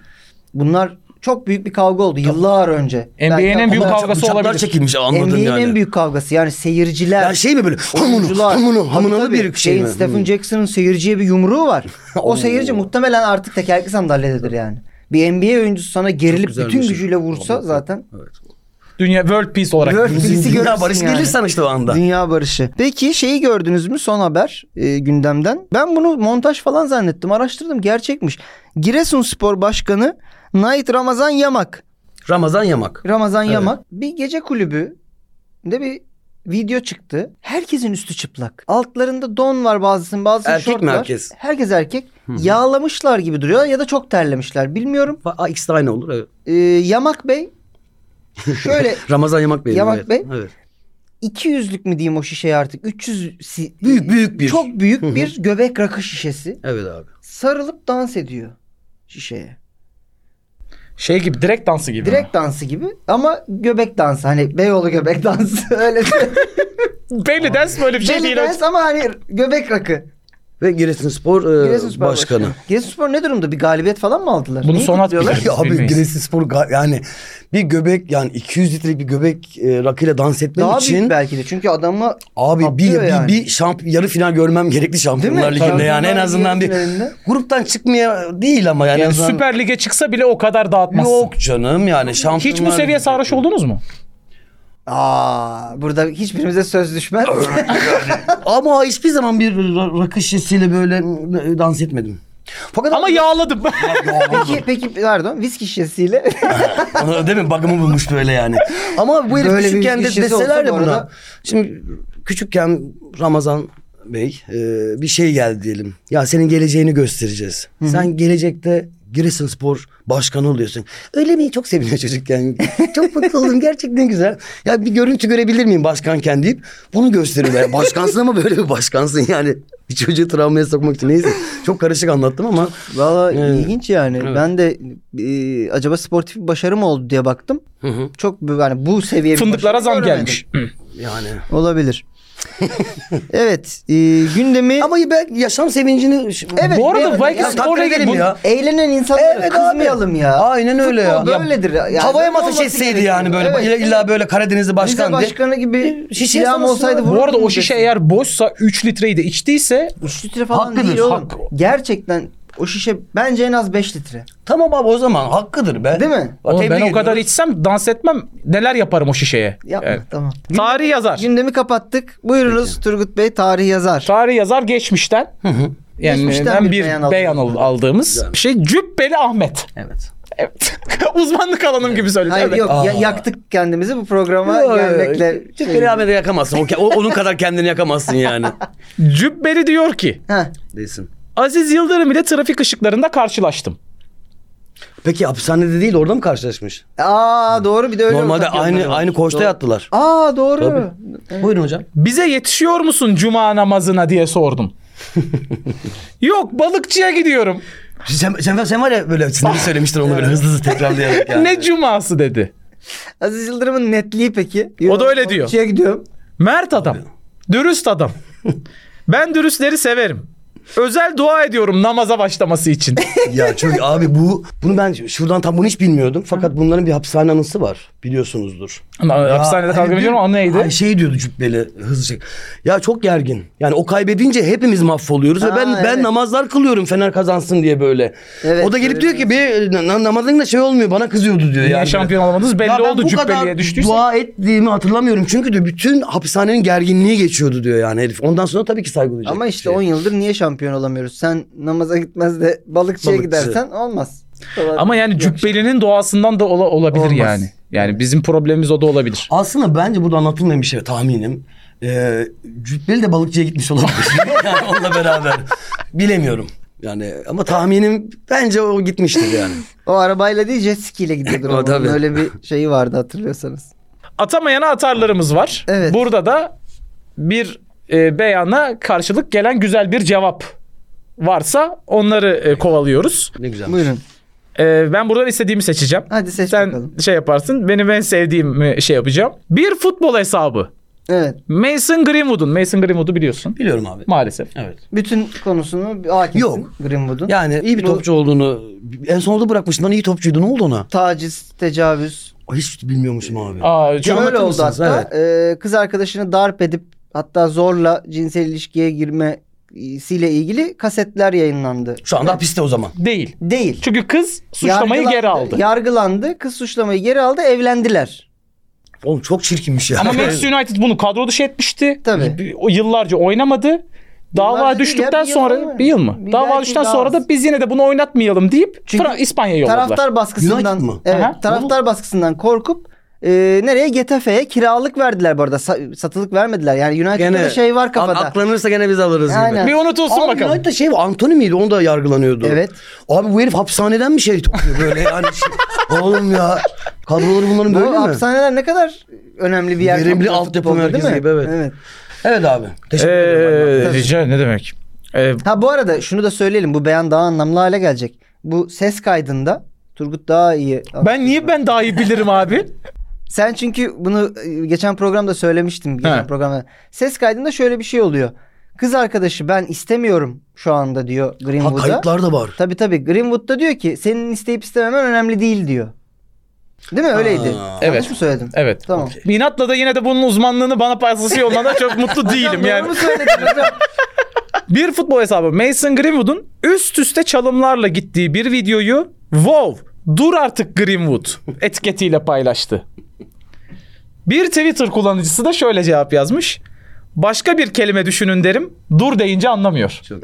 B: Bunlar çok büyük bir kavga oldu yıllar önce.
C: NBA'nin
B: Belki-
C: en büyük
B: Ama
C: kavga- Kavgası
D: Bıçaklar
C: olabilir.
D: çekilmiş anladın
B: NBA'nin
D: yani.
B: en büyük kavgası yani seyirciler.
D: Ya şey mi böyle hamunu
B: oyuncular.
D: hamunu
B: Tabii
D: hamunalı
B: tabii.
D: bir şey mi?
B: Stephen
D: Hmm.
B: Jackson'ın seyirciye bir yumruğu var. o
D: Oo.
B: seyirci muhtemelen artık tekerlekli sandalyededir yani. Bir NBA oyuncusu sana gerilip
D: güzel
B: bütün
D: bir şey.
B: gücüyle vursa
D: Vallahi.
B: zaten
D: Evet.
C: Dünya World Peace olarak.
B: World- Birisi
D: Dünya
B: görürsün
D: barış
B: yani.
D: gelir sana işte o anda.
B: dünya barışı. Peki şeyi gördünüz mü son haber e, gündemden? Ben bunu montaj falan zannettim. Araştırdım gerçekmiş. Giresunspor Başkanı Nait Ramazan Yamak.
D: Ramazan yamak.
B: Ramazan
D: Evet.
B: Yamak bir gece kulübü de bir video çıktı. Herkesin üstü çıplak. Altlarında don var bazısının bazısının
D: Erkek mi
B: şort var.
D: herkes?
B: Herkes erkek. Yağlamışlar gibi duruyor ya da çok terlemişler bilmiyorum.
D: Aa, ikisi de aynı olur. Evet.
B: Ee, Yamak Bey şöyle
D: Ramazan yamak benim.
B: Yamak
D: evet.
B: Bey.
D: Evet.
B: 200'lük mü diyeyim o şişeye artık 300 si-
D: Büyük büyük bir.
B: çok büyük
D: Hı hı.
B: bir göbek rakı şişesi
D: Evet abi.
B: sarılıp dans ediyor şişeye.
C: Şey gibi direkt dansı gibi.
B: Direkt dansı gibi ama göbek dansı hani Beyoğlu göbek dansı öyle.
C: Belli dans böyle bir şey
B: Belli
C: değil.
B: dans ama hani göbek rakı.
D: Ve Giresunspor, e,
B: Giresunspor
D: başkanı.
B: Giresunspor ne durumda? Bir galibiyet falan mı aldılar?
C: Bunu
B: Neyi
C: son at
B: kutluyorlar?
C: bilir.
D: Ya abi
C: Bilmeyiz.
D: Giresunspor ga- yani bir göbek yani 200 litrelik bir göbek e, rakıyla dans etmen
B: Daha
D: için
B: büyük belki de. Çünkü adamı
D: abi bir,
B: Atlıyor
D: bir,
B: yani.
D: bir şamp yarı final görmem gerekli Şampiyonlar Ligi'nde yani en azından bir
B: Elinde.
D: gruptan çıkmaya değil ama yani, en
C: Yani
D: azından-
C: Süper Lig'e çıksa bile o kadar dağıtmazsın.
D: Yok canım yani şampiyonlar
C: Hiç bu seviye
D: Ligi-
C: sarhoş oldunuz mu?
B: Aa, burada hiçbirimize söz düşmez.
D: Ama hiçbir zaman bir ra- rakı şişesiyle böyle dans etmedim. Fakat
C: Ama yağladım.
B: peki, peki pardon viski şişesiyle.
D: Ona Değil mi? Bug'ımı bulmuş böyle yani. Ama bu herif
B: Böyle bir
D: küçükken de
B: ilişkisi
D: deseler de
B: olsa bu
D: buna.
B: arada-
D: Şimdi küçükken Ramazan Bey e, bir şey geldi diyelim. Ya senin geleceğini göstereceğiz. Sen gelecekte Giresunspor başkanı oluyorsun. Öyle mi? Çok seviniyor çocukken. Çok mutlu oldum. Gerçekten güzel. Ya bir görüntü görebilir miyim başkanken deyip bunu gösteriyorlar. Ya Başkansın ama böyle bir başkansın yani. Bir çocuğu travmaya sokmak için neyse. Çok karışık anlattım ama.
B: Valla
D: Evet.
B: ilginç yani. Ben de e, acaba sportif bir başarı mı oldu diye baktım.
D: Hı hı.
B: Çok bu- yani bu seviye bir
C: Fındıklara
B: başarı
C: zam
B: göremedim.
C: gelmiş.
D: Yani.
B: Olabilir. evet e, gündemi
D: Ama ben yaşam sevincini...
B: Evet,
C: bu arada
B: evet,
C: belki
B: ya
C: sporla
D: takdir
C: ilgili
D: edelim
C: bu-
D: ya.
B: eğlenen insanlara
D: Evet abi.
B: kızmayalım ya.
D: Aynen öyle ya.
B: Futbol böyledir. Yani
D: Havaya
B: böyle
D: masa
B: olması
D: çizseydi
B: gerekiyor.
D: yani böyle
B: Evet.
D: illa, illa böyle Karadenizli
B: Başkan
D: başkan diye.
B: başkanı gibi
D: Şişe
B: silahım
D: sanasın
B: olsaydı
D: abi.
B: vururdum
C: Bu arada o
B: diyeceksin.
C: şişe eğer boşsa 3 litreyi de içtiyse
B: 3 litre falan
D: Hakkıdır,
B: değil oğlum.
C: hakkı.
B: Gerçekten o şişe bence en az 5 litre.
D: Tamam abi o zaman hakkıdır be.
B: Değil mi?
D: Bak,
C: oğlum
D: tebrik
C: ben o
D: ediyorum.
C: kadar içsem dans etmem. Neler yaparım o şişeye?
B: Yapma
C: Evet.
B: tamam.
C: Tarih yazar.
B: Gündemi kapattık. Buyurunuz Turgut Bey tarih yazar.
C: Tarih yazar geçmişten. Yani
B: Geçmişten
C: hem
B: bir
C: bir,
B: beyan
C: beyan,
B: aldığımız.
C: al- aldığımız şey Cübbeli Ahmet.
D: Evet.
C: Evet. Uzmanlık alanım gibi söyledim.
B: Hayır
C: evet.
B: yok ya-
D: Aa.
B: yaktık kendimizi bu programa şey-
D: Yok,
B: gelmekle.
D: Türk Beraber'de yakamazsın. O ke- o- onun kadar kendini yakamazsın yani.
C: Cübbeli diyor ki
B: Ha,
D: Değilsin.
C: Aziz Yıldırım ile trafik ışıklarında karşılaştım.
D: Peki hapishanede değil orada mı karşılaşmış?
B: Aa doğru bir de öyle
D: Normalde
B: ortak
D: aynı
B: yolları var.
D: aynı koğuşta yattılar.
B: Aa doğru.
D: Buyurun hocam.
C: Bize yetişiyor musun cuma namazına diye sordum. Yok balıkçıya gidiyorum.
D: Sen, sen, sen var ya böyle sinirli söylemiştin onu böyle hızlı hızlı tekrarlayarak yani.
C: Ne cuması dedi.
B: Aziz Yıldırım'ın netliği peki?
C: O da öyle diyor.
B: Şeye gidiyorum.
C: Mert adam. Dürüst adam. Ben dürüstleri severim. Özel dua ediyorum namaza başlaması için.
D: ya çünkü abi bu bunu ben şuradan tam bunu hiç bilmiyordum. Fakat bunların bir hapishane anısı var. Biliyorsunuzdur.
C: Ama Hapishanede
D: Ya,
C: kavga
D: hani
C: ediyorum o
D: bir-
C: neydi?
D: Ay, şey diyordu cübbeli hızlıca. Ya çok gergin. Yani o kaybedince hepimiz mahvoluyoruz ve
B: Ha,
D: ben ben
B: evet.
D: namazlar kılıyorum Fener kazansın diye böyle.
B: Evet,
D: o da gelip
B: evet,
D: diyor ki bir na- namazın da şey olmuyor bana kızıyordu diyor
C: Niye
D: yani.
C: şampiyon olamadınız belli
D: Ya ben
C: oldu
D: bu kadar
C: cübbeliye düştüyse.
D: dua ettiğimi hatırlamıyorum çünkü diyor bütün hapishanenin gerginliği geçiyordu diyor yani herif. Ondan sonra tabii ki saygı duyacak.
B: Ama
D: bir
B: işte
D: şey.
B: 10 yıldır niye şampiyon olamıyoruz? Sen namaza gitmez de balıkçıya
D: Balıkçı.
B: gidersen olmaz.
C: Ama yani cübbelinin doğasından da ola- olabilir
D: Olmaz.
C: yani. Yani bizim problemimiz o da olabilir.
D: Aslında bence burada anlatılmayan bir şey tahminim. Ee, Cübbeli de balıkçıya gitmiş olabilir. yani onunla beraber. Bilemiyorum. Yani ama tahminim bence o gitmiştir yani.
B: O arabayla değil jet ski ile gidiyordur.
D: O
B: o
D: tabii.
B: Öyle bir şeyi vardı hatırlıyorsanız.
C: Atamayana atarlarımız var.
B: Evet.
C: Burada da bir e, beyana karşılık gelen güzel bir cevap varsa onları e, kovalıyoruz.
D: Ne güzel.
B: Buyurun.
C: E, ben buradan istediğimi seçeceğim.
B: Hadi seç
C: Sen
B: bakalım.
C: şey yaparsın. Benim en sevdiğim e, şey yapacağım. Bir futbol hesabı.
B: Evet.
C: Mason Greenwood'un. Mason Greenwood'u biliyorsun.
D: Biliyorum abi.
C: Maalesef.
D: Evet.
B: Bütün konusunu bir hakimsin
D: Yok.
B: Greenwood'un.
D: Yani iyi bir
B: Bu-
D: topçu olduğunu en sonunda bırakmıştın. Lan iyi topçuydu. Ne oldu ona?
B: Taciz, tecavüz.
D: Ay, Hiç bilmiyormuşum abi.
C: Aa, çok-
D: Anlatır
B: Şöyle oldu
D: mısınız?
B: hatta. e, kız arkadaşını darp edip hatta zorla cinsel ilişkiye girmesiyle ilgili kasetler yayınlandı.
D: Şu anda hapiste o zaman.
C: değil.
B: Değil.
C: Çünkü kız suçlamayı
B: Yargılandı-
C: geri aldı.
B: Yargılandı. Kız suçlamayı geri aldı. Evlendiler.
D: Oğlum çok çirkinmiş ya.
C: Ama Manchester United bunu kadro dışı etmişti.
B: Tabii.
C: Y- O yıllarca oynamadı. Dava
B: Yıllarca değil
C: düştükten
B: ya, bir yıl
C: sonra
B: sonra.
C: bir yıl mı?
B: Bir
C: Dava
B: belki
C: düştükten
B: daha
C: sonra
B: az.
C: da biz yine de bunu oynatmayalım deyip
B: Çünkü
C: Fra- İspanya'ya yolladılar.
B: Taraftar baskılarından
D: United mı?
B: Evet,
C: Aha.
B: taraftar baskısından korkup e, nereye? Getafe'ye kiralık verdiler bu arada. Sa- satılık vermediler. Yani United'da da şey var kafada.
D: Aklanırsa gene biz alırız
B: Aynen.
C: Bir unutulsun
D: Abi
C: bakalım.
D: United'da şey var. Anthony miydi? Onu da yargılanıyordu.
B: Evet.
D: Abi bu herif hapishaneden mi şey topluyor böyle yani? şey- Oğlum ya. Kadroları bunların böyle
B: Bu
D: mi?
B: hapishaneler ne kadar önemli bir yer.
D: Verimli
B: futbolda,
D: altyapı
B: futbolda, değil
D: merkezi
B: mi?
D: gibi, evet. Evet abi.
C: Ee,
D: Teşekkür ederim. abi.
C: rica ne demek? Ee,
B: Ha bu arada şunu da söyleyelim. Bu beyan daha anlamlı hale gelecek. Bu ses kaydında Turgut daha iyi.
C: ben niye ben daha iyi bilirim abi?
B: Sen çünkü bunu e, geçen programda söylemiştim. Geçen
C: He.
B: programda. Ses kaydında şöyle bir şey oluyor. Kız arkadaşı ben istemiyorum şu anda diyor
D: Ha,
B: Greenwood'a.
D: kayıtlar da var.
B: Tabii tabii Greenwood da diyor ki senin isteyip istememen önemli değil diyor. Değil mi? Öyleydi. Yanlış
C: Evet.
B: mı söyledim?
C: Evet.
B: Tamam.
C: Minat'la da yine de bunun uzmanlığını bana paylaşması yolundan çok mutlu değilim
B: Doğru
C: yani.
B: mu söyledim hocam?
C: Bir futbol hesabı Mason Greenwood'un üst üste çalımlarla gittiği bir videoyu Wow dur artık Greenwood etiketiyle paylaştı. Bir Twitter kullanıcısı da şöyle cevap yazmış. Başka bir kelime düşünün derim. Dur deyince anlamıyor.
D: Çok,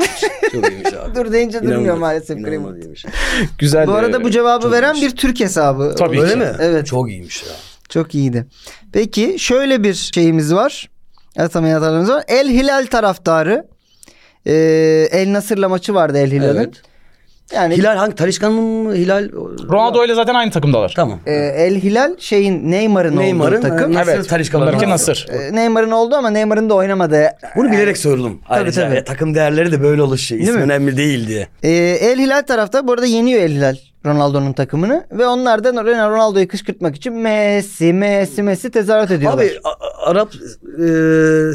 D: çok iyiymiş abi.
B: Dur deyince durmuyor
D: İnanılmaz,
B: maalesef
D: inanılmaz
B: Greenwood.
D: iyiymiş.
C: Güzel. e,
B: Bu arada bu cevabı
D: çok
B: veren
D: iyiymiş.
B: bir Türk hesabı.
C: Tabii.
D: Öyle
C: ki.
D: mi?
B: Evet.
D: Çok iyiymiş ya.
B: Çok iyiydi. Peki şöyle bir şeyimiz var. Atamayan taraftarlarımız var. El Hilal taraftarı. Ee, El Nasır'la maçı vardı El Hilal'in.
D: Evet.
B: Yani
D: Hilal hangi? Talişkan'ın mı? Hilal.
C: Ronaldo ile zaten aynı takımdalar.
D: Tamam.
B: e, El Hilal şeyin Neymar'ın,
D: Neymar'ın
B: olduğu takım.
D: e, Nasır
C: Evet.
D: Talişkan'ın
C: Bunlarınki
D: Ronaldo.
C: Nasır.
B: E, Neymar'ın oldu ama Neymar'ın da oynamadı.
D: Bunu bilerek söyledim. Ayrıca
B: tabii.
D: ya, takım değerleri de böyle oluşuyor. İsmi
B: mi?
D: önemli değil diye.
B: E, El Hilal tarafta bu arada yeniyor El Hilal Ronaldo'nun takımını ve onlar da Ronaldo'yu kışkırtmak için Messi, Messi, Messi tezahürat ediyorlar.
D: Abi A- A- Arap e,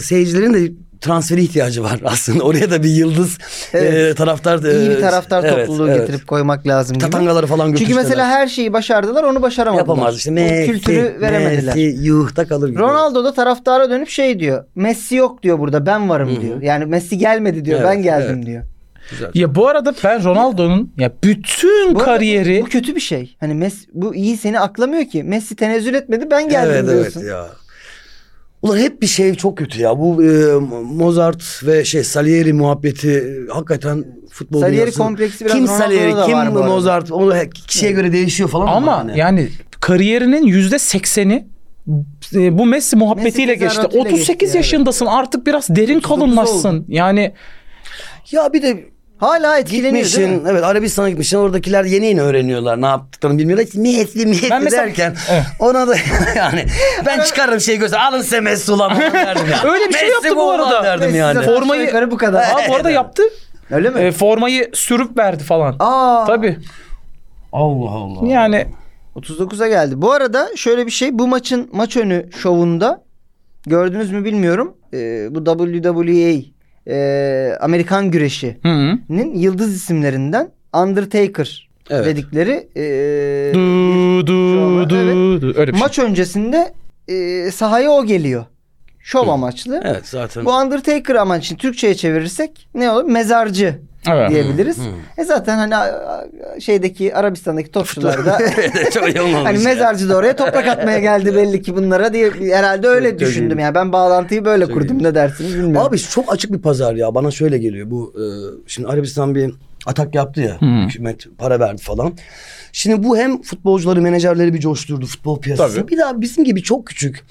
D: seyircilerin de transferi ihtiyacı var aslında. Oraya da bir yıldız
B: Evet.
D: e, taraftar
B: İyi bir
D: e,
B: taraftar
D: evet,
B: topluluğu
D: evet.
B: getirip koymak lazım gibi.
D: Tatangaları falan
B: Çünkü
D: götürsünler.
B: mesela her şeyi başardılar onu başaramadılar.
D: yapamaz işte.
B: O
D: Messi,
B: kültürü veremediler.
D: Messi yuhta kalır gibi.
B: Ronaldo da taraftara dönüp şey diyor. Messi yok diyor burada ben varım diyor. Yani Messi gelmedi diyor
D: Evet,
B: ben geldim diyor.
C: Ya bu arada ben Ronaldo'nun ya bütün
B: Bu arada
C: kariyeri
B: Bu kötü bir şey. Hani Messi, bu iyi seni aklamıyor ki. Messi tenezzül etmedi ben geldim
D: evet,
B: diyorsun.
D: Evet ya. Ulan hep bir şey çok kötü ya. Bu e, Mozart ve şey Salieri muhabbeti e, hakikaten futbol
B: Salieri
D: dünyasının-
B: kompleksi biraz
D: Kim
B: Ronaldo'da
D: Salieri,
B: da
D: kim
B: var bu arada.
D: Mozart? O he- kişiye göre değişiyor falan
C: ama
D: hani.
C: yani kariyerinin yüzde sekseni e, bu Messi muhabbetiyle
B: Messi
C: geçti.
B: tezahüratıyla
C: 38
B: geçti, evet.
C: yaşındasın artık biraz derin
B: 39
C: kalınlaşsın. Yani
D: ya bir de
B: Hala etkileniyor değil mi?
D: gitmişsin. Evet Arabistan'a gitmişsin. Oradakiler yeni yeni öğreniyorlar. Ne yaptıklarını bilmiyorlar. İşte Messi, Messi
C: Ben mesela-
D: derken
C: Evet.
D: ona da yani ben çıkarırım şey göster. Alın size Messi ulan falan derdim yani.
C: Öyle bir şey
D: Messi
C: yaptı bu
D: ulan
C: arada.
D: derdim
B: Messi
D: yani.
B: zaten
C: Formayı-
B: aşağı yukarı bu kadar.
C: Aa, bu arada yaptı.
B: Öyle mi?
C: E, formayı sürüp verdi falan.
B: Aa.
C: Tabii.
D: Allah Allah.
C: Yani
B: 39'a geldi. Bu arada şöyle bir şey bu maçın maç önü şovunda gördünüz mü bilmiyorum. Ee, bu WWE e, Amerikan güreşinin
C: Hı hı.
B: yıldız isimlerinden Undertaker
D: Evet.
B: dedikleri e,
C: Du du
B: Evet.
C: du du. Öyle bir şey.
B: maç öncesinde e, sahaya o geliyor. Şov amaçlı.
D: Evet zaten.
B: Bu Undertaker amacı için Türkçe'ye çevirirsek ne olur? Mezarcı
C: Evet.
B: diyebiliriz. E zaten hani a- a- şeydeki Arabistan'aki topçular da
D: Çok iyi olmamış
B: hani
D: ya.
B: mezarcı da oraya toprak atmaya geldi belli ki bunlara diye herhalde öyle
D: Çok iyi.
B: düşündüm. Yani ben bağlantıyı böyle
D: Çok
B: kurdum
D: iyi.
B: ne dersiniz bilmiyorum.
D: Abi çok açık bir pazar ya. Bana şöyle geliyor bu. e, şimdi Arabistan bir atak yaptı ya. Hükümet para verdi falan. Şimdi bu hem futbolcuları, menajerleri bir coşturdu futbol piyasası.
C: Tabii.
D: Bir daha bizim gibi çok küçük,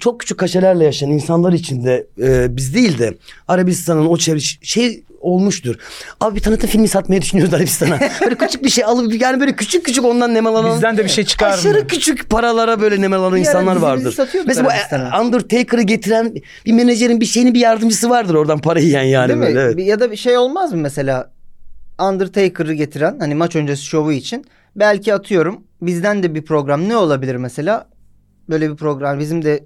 D: çok küçük kaşelerle yaşayan insanlar için de e, biz değil de Arabistan'ın o çevre şey olmuştur. Abi bir tanıtım filmi satmayı düşünüyoruz Arabistan'a. böyle küçük bir şey alıp yani böyle küçük küçük ondan nemalanan.
C: Bizden de bir şey çıkar mı?
D: Aşırı küçük paralara böyle nemalanan
B: Bir ara
D: insanlar
B: dizimizi
D: vardır.
B: satıyorduk
D: Mesela bu e,
B: Arabistan'a.
D: Undertaker'ı getiren bir menajerin bir şeyini bir yardımcısı vardır oradan para yiyen yani.
B: Değil mi?
D: böyle, evet.
B: Bir- Ya da bir şey olmaz mı mesela Undertaker'ı getiren hani maç öncesi şovu için belki atıyorum bizden de bir program ne olabilir mesela? Böyle bir program bizim de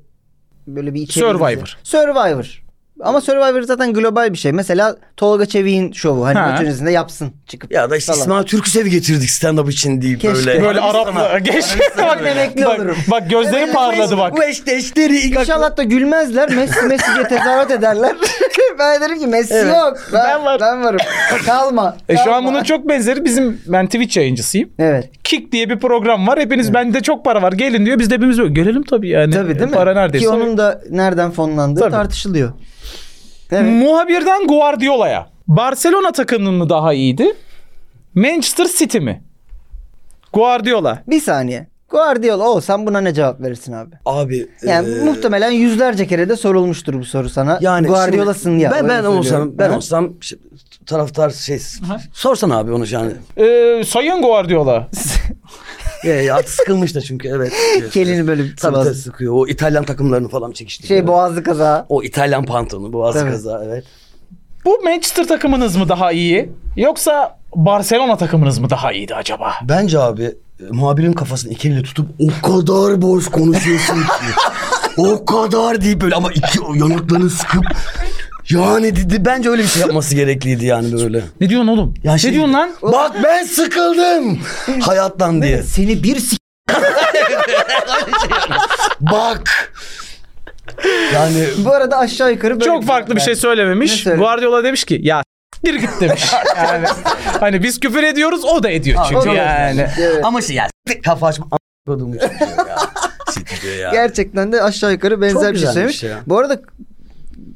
B: böyle bir içeriğimiz-
C: Survivor.
B: Survivor. Ama Survivor zaten global bir şey. Mesela Tolga Çevik'in şovu hani
C: Ha.
B: maç öncesinde yapsın çıkıp.
D: Ya da işte
B: falan.
D: İsmail Türküsev'i getirdik stand-up için deyip
B: Keşke.
D: böyle.
C: Böyle Arapla geç. bak,
B: emekli
C: bak,
B: olurum.
C: bak gözleri parladı bak.
D: Bu eşleşleri
B: İnşallah da gülmezler. Messi Messi diye tezahürat ederler. ben derim ki Messi
D: Evet.
B: yok. Ben,
C: Ben
B: ben,
C: varım.
B: varım. Kalma.
C: E şu an
B: kalma.
C: bunun çok benzeri bizim ben Twitch yayıncısıyım.
B: Evet.
C: Kick diye bir program var. Hepiniz bende çok para var. Gelin diyor. Biz de hepimiz böyle. Gelelim tabii yani.
B: Tabii değil mi?
C: Ee, Para neredeyse.
B: Ki onun da nereden fonlandığı
C: Tabii. Hmm.
B: tartışılıyor. Evet.
C: Muhabirden Guardiola'ya. Barcelona takımının mı daha iyiydi? Manchester City mi? Guardiola.
B: Bir saniye. Guardiola olsan buna ne cevap verirsin abi?
D: Abi.
B: Yani
D: eee,
B: muhtemelen yüzlerce kere de sorulmuştur bu soru sana.
D: Ee, Yani
B: Guardiola'sın
D: şimdi
B: ya.
D: Ben,
B: öyle
D: ben olsam
B: söylüyorum.
D: ben
B: Ha?
D: olsam şey, taraftar şey sorsan abi onu yani.
C: Ee, sayın Guardiola.
D: E, artık sıkılmış da çünkü evet.
B: Kelini böyle bir
D: Tabii tabii
B: sıvaz-
D: sıkıyor. O İtalyan takımlarını falan çekiştiriyor.
B: Şey boğazlı kaza.
D: O İtalyan pantolonu, boğaz
B: Tabii.
D: kaza evet.
C: Bu Manchester takımınız mı daha iyi? Yoksa Barcelona takımınız mı daha iyiydi acaba?
D: Bence abi e, muhabirin kafasını iki elle tutup o kadar boş konuşuyorsun ki. o kadar deyip böyle ama iki yanaklarını sıkıp yani dedi bence öyle bir şey yapması gerekliydi yani böyle.
C: Ne diyorsun oğlum?
D: Ya
C: ne
D: şey-
C: diyorsun lan?
D: Bak ben sıkıldım hayattan diye.
B: Seni bir s-
D: Bak. Yani
B: Bu arada aşağı yukarı böyle.
C: Çok farklı bir şey
B: Ne
C: söylememiş.
B: söyledi?
C: Guardiola demiş ki ya bir git demiş. yani, hani biz küfür ediyoruz o da ediyor çünkü
B: o da
C: yani.
B: Evet.
D: ama şey ya kafa açma a**ladım şey ya. Siktir ya.
B: Gerçekten de aşağı yukarı benzer
D: Çok
B: bir şey
D: güzelmiş
B: söylemiş.
D: ya.
B: Bu arada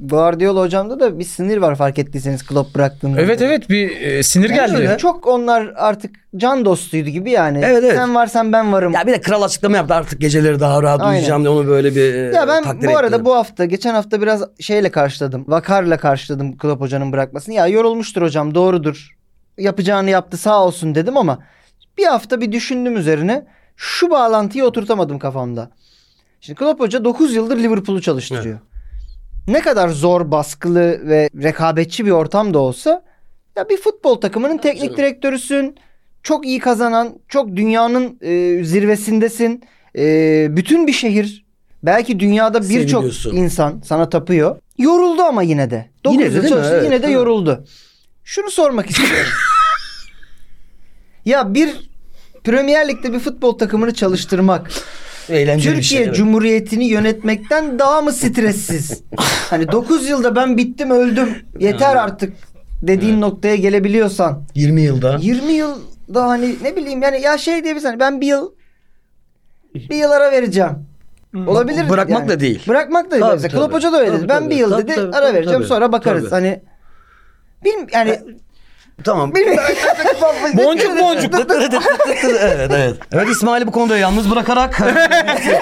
B: Guardiola hocamda da bir sinir var fark ettiyseniz Klopp bıraktığında.
C: Evet evet bir e, sinir
B: Yani
C: geldi.
B: öyle. Çok onlar artık can dostuydu gibi yani.
D: Evet, evet.
B: Sen varsan ben varım.
D: Ya bir de kral açıklama yaptı artık geceleri daha rahat
B: Aynen.
D: uyuyacağım diye onu böyle bir e,
B: Ya ben bu arada bu hafta geçen hafta biraz şeyle karşıladım. Vakarla karşıladım Klopp hocanın bırakmasını. Ya yorulmuştur hocam doğrudur. Yapacağını yaptı sağ olsun dedim ama bir hafta bir düşündüm üzerine. Şu bağlantıyı oturtamadım kafamda. Şimdi Klopp hoca 9 yıldır Liverpool'u çalıştırıyor. Ne kadar zor, baskılı ve rekabetçi bir ortam da olsa ya bir futbol takımının teknik
D: canım.
B: direktörüsün. Çok iyi kazanan, çok dünyanın e, zirvesindesin. E, bütün bir şehir belki dünyada birçok
D: Seviliyorsun.
B: insan sana tapıyor. Yoruldu ama yine de. Dokuz
D: Yine de
B: yıl
D: değil mi?
B: çalıştı,
D: Evet,
B: yine de
D: evet.
B: yoruldu. Şunu sormak istiyorum. ya bir Premier Lig'de bir futbol takımını çalıştırmak
D: Eğlenceli bir
B: Türkiye
D: şey, evet.
B: Cumhuriyeti'ni yönetmekten daha mı stressiz? hani 9 yılda ben bittim öldüm yeter artık dediğin noktaya gelebiliyorsan
D: 20 yılda.
B: 20 yılda hani ne bileyim yani ya şey diyebilirsin hani ben bir yıl bir yıl ara vereceğim. Olabilir.
D: Hmm. Bırakmak
B: yani.
D: da değil.
B: Bırakmak da değil.
D: Tabii,
B: Mesela
D: tabii.
B: Klopp Hoca da öyle
D: Tabii,
B: dedi. Ben
D: tabii.
B: bir yıl
D: Tabii,
B: dedi
D: tabii,
B: ara
D: tabii,
B: vereceğim
D: tabii.
B: sonra bakarız.
D: Tabii.
B: Hani Bilmiyorum yani
D: Tamam.
B: bilmiyorum.
C: Boncuk boncuk.
D: evet evet. Evet İsmail'i bu konuda yalnız bırakarak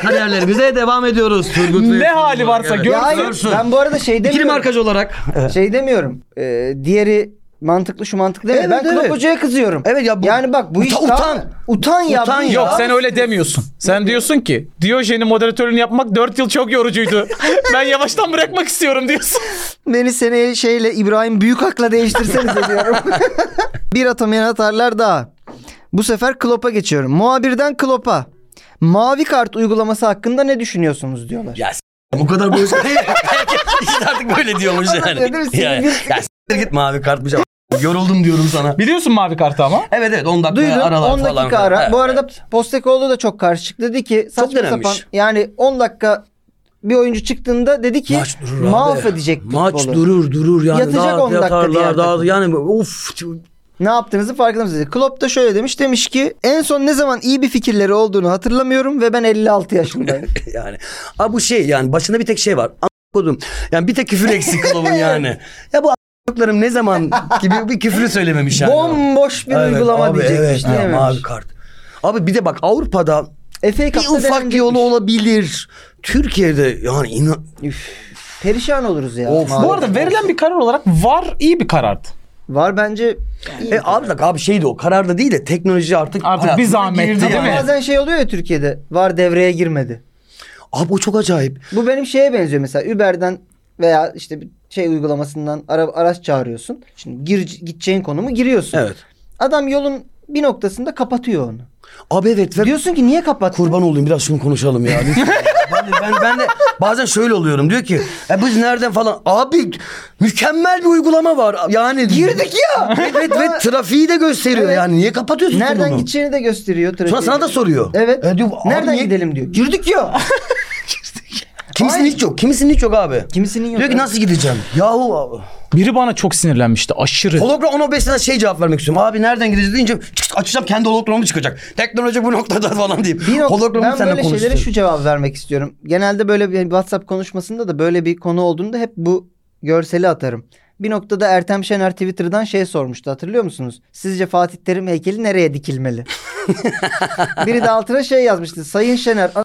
D: kariyerlerimize devam ediyoruz. Turgut
C: Ne hali varsa gör.
B: Ya hayır,
D: Görsün.
B: ben bu arada şey
D: İkili
B: demiyorum.
D: markacı olarak. Evet.
B: Şey demiyorum. Ee, diğeri mantıklı şu mantıklı değil.
D: Evet,
B: ben Klopp
D: evet.
B: Hoca'ya kızıyorum.
D: Evet ya bu-
B: yani bak bu
D: Uta-
B: iş
D: utan.
B: daha- utan ya.
D: Utan
B: bu
D: ya.
C: Yok
B: daha-
C: sen öyle demiyorsun. Sen diyorsun ki Diyojen'i moderatörünü yapmak 4 yıl çok yorucuydu. ben yavaştan bırakmak istiyorum diyorsun.
B: Beni seneye şeyle İbrahim Büyükak'la değiştirseniz diyorum. bir atamayan atarlar daha. Bu sefer Klopp'a geçiyorum. Muhabirden Klopp'a. Mavi kart uygulaması hakkında ne düşünüyorsunuz diyorlar.
D: Ya Bu kadar böyle işte artık böyle diyormuş
B: Anlatıyor değil mi?
D: yani.
B: Sinir
D: Ya, ya, s- git mavi kart bir şey. Yoruldum diyorum sana.
C: Biliyorsun mavi kartı ama.
D: Evet evet 10 dakika
B: Duydum
D: aralar
B: 10 dakika
D: falan.
B: ara.
D: Evet,
B: Bu arada
D: evet.
B: Postekoğlu da çok karşı çıktı. Dedi ki saçma
D: denenmiş.
B: sapan yani 10 dakika bir oyuncu çıktığında dedi ki
D: maç durur abi.
B: mahvedecek
D: Maç
B: futbolu.
D: durur durur yani.
B: Yatacak
D: daha
B: 10 dakika diğer
D: yatarlar
B: takım.
D: daha yani of
B: Ne yaptığınızı farkında mısınız? Klopp da şöyle demiş. Demiş ki en son ne zaman iyi bir fikirleri olduğunu hatırlamıyorum ve ben 56 yaşındayım.
D: yani. Abi bu şey yani başında bir tek şey var. A- Kodum. Yani bir tek küfür eksik kılavun yani. Ya bu a**larım ne zaman gibi bir küfürü söylememiş yani.
B: Bomboş bir
D: Evet,
B: uygulama
D: abi,
B: diyecekmiş.
D: evet, ya,
B: diyememiş.
D: mavi kart. Abi bir de bak Avrupa'da
B: FA
D: bir
B: Cup'ta
D: ufak
B: denenecekmiş.
D: yolu olabilir. Türkiye'de yani inan...
B: Üf, perişan oluruz ya.
D: Of,
B: maalesef.
C: Bu arada verilen bir karar olarak var iyi bir karardı.
B: var bence
D: E, abi bak abi şeydi o kararda değil de teknoloji artık
C: Artık bir
D: hayatımıza
C: zahmet
D: girdi
C: tabii
D: yani.
C: mi?
B: bazen şey oluyor ya Türkiye'de. Var devreye girmedi.
D: Abi o çok acayip.
B: Bu benim şeye benziyor mesela Uber'den veya işte bir şey uygulamasından ara, araç çağırıyorsun. Şimdi gir, gideceğin konumu giriyorsun.
D: Evet.
B: Adam yolun bir noktasında kapatıyor onu.
D: Abi evet ve
B: Diyorsun ki niye kapattın?
D: kurban olayım biraz şunu konuşalım ya. lütfen. ben, de, ben, ben de bazen şöyle oluyorum diyor ki e, biz nereden falan. Abi mükemmel bir uygulama var. Yani
B: Girdik ya.
D: Evet ve trafiği de gösteriyor
B: Evet.
D: yani. Niye kapatıyorsun sen
B: Nereden
D: onu?
B: gideceğini de gösteriyor. trafiği.
D: Sonra sana da soruyor.
B: Evet.
D: E, diyor, abi
B: Nereden
D: niye-
B: gidelim diyor. Girdik ya.
D: Kimisinin hiç yok. Kimisinin hiç yok abi.
B: Kimisinin yok.
D: Diyor ki
B: Evet.
D: nasıl gideceğim? Yahu
C: Biri bana çok sinirlenmişti aşırı.
D: hologram 10-15'te şey cevap vermek istiyorum. Abi nereden gideceğiz deyince çık, çık, açacağım kendi hologramım çıkacak. Teknoloji bu noktada falan deyip.
B: Bir nokta-
D: hologramım
B: ben
D: seninle
B: böyle şeylere
D: konuştu.
B: şu cevap vermek istiyorum. Genelde böyle bir WhatsApp konuşmasında da böyle bir konu olduğunda hep bu görseli atarım. Bir noktada Ertem Şener Twitter'dan şey sormuştu hatırlıyor musunuz? Sizce Fatih Terim heykeli nereye dikilmeli? Biri de altına şey yazmıştı. Sayın Şener a-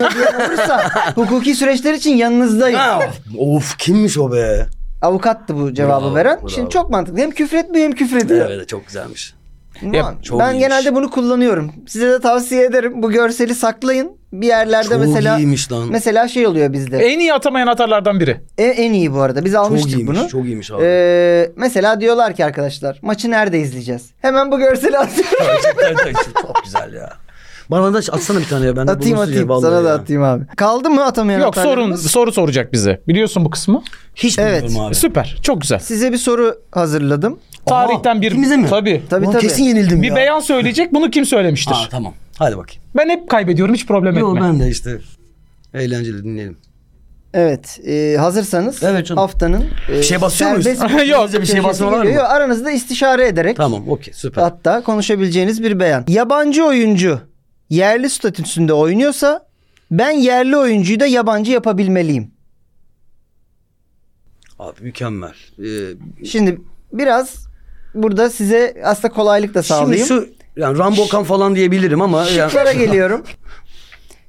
B: diyen olursa hukuki süreçler için yanınızdayım.
D: Ha, of, of kimmiş o be?
B: Avukattı bu cevabı
D: Bravo,
B: veren.
D: bravo.
B: Şimdi çok mantıklı. Hem küfür etmiyor hem küfür ediyor.
D: Evet çok güzelmiş.
B: Ulan,
D: çok
B: ben
D: iyiymiş.
B: genelde bunu kullanıyorum. Size de tavsiye ederim. Bu görseli saklayın. Bir yerlerde
D: Çok
B: mesela
D: iyiymiş lan.
B: Mesela şey oluyor bizde.
C: En iyi atamayan atarlardan biri.
B: E- en iyi bu arada. Biz
D: çok
B: almıştık
D: iyiymiş.
B: bunu.
D: Çok iyiymiş abi.
B: Ee, mesela diyorlar ki arkadaşlar maçı nerede izleyeceğiz? Hemen bu görseli atıyorum.
D: Gerçekten de çok güzel ya. Bana da atsana bir tane ya. Ben de
B: atayım
D: bulunsun ya,
B: atayım.
D: şey? vallahi
B: Sana da
D: ya.
B: atayım abi. Kaldı mı atamayan
C: Yok sorun
B: hatalarımız?
C: soru soracak bize. Biliyorsun bu kısmı.
D: Hiç
B: Evet.
D: bilmiyorum abi.
C: Süper. Çok güzel.
B: Size bir soru hazırladım.
C: Tarihten bir
D: ikimize mi?
C: tabii.
B: Tabii
D: Ulan
B: tabii.
D: Kesin yenildim
C: Bir
D: ya.
C: beyan söyleyecek. Bunu kim söylemiştir?
D: Ha, tamam. Hadi bakayım.
C: Ben hep kaybediyorum. Hiç problem
D: Yo
C: etme.
D: ben de işte. Eğlenceli dinleyelim.
B: Evet. e, hazırsanız
D: Evet canım.
B: haftanın e,
D: Bir şey basıyor muyuz?
B: serbest
C: Yok.
D: Bir şey
B: köşesi
D: basma var mı?
B: geliyor. Aranızda istişare ederek
D: Tamam okey süper.
B: hatta konuşabileceğiniz bir beyan. Yabancı oyuncu yerli statüsünde oynuyorsa ben yerli oyuncuyu da yabancı yapabilmeliyim.
D: Abi mükemmel. Ee,
B: Şimdi biraz burada size aslında kolaylık da
D: şimdi
B: sağlayayım.
D: şu yani Rambo kan falan diyebilirim ama yani,
B: Şıklara geliyorum.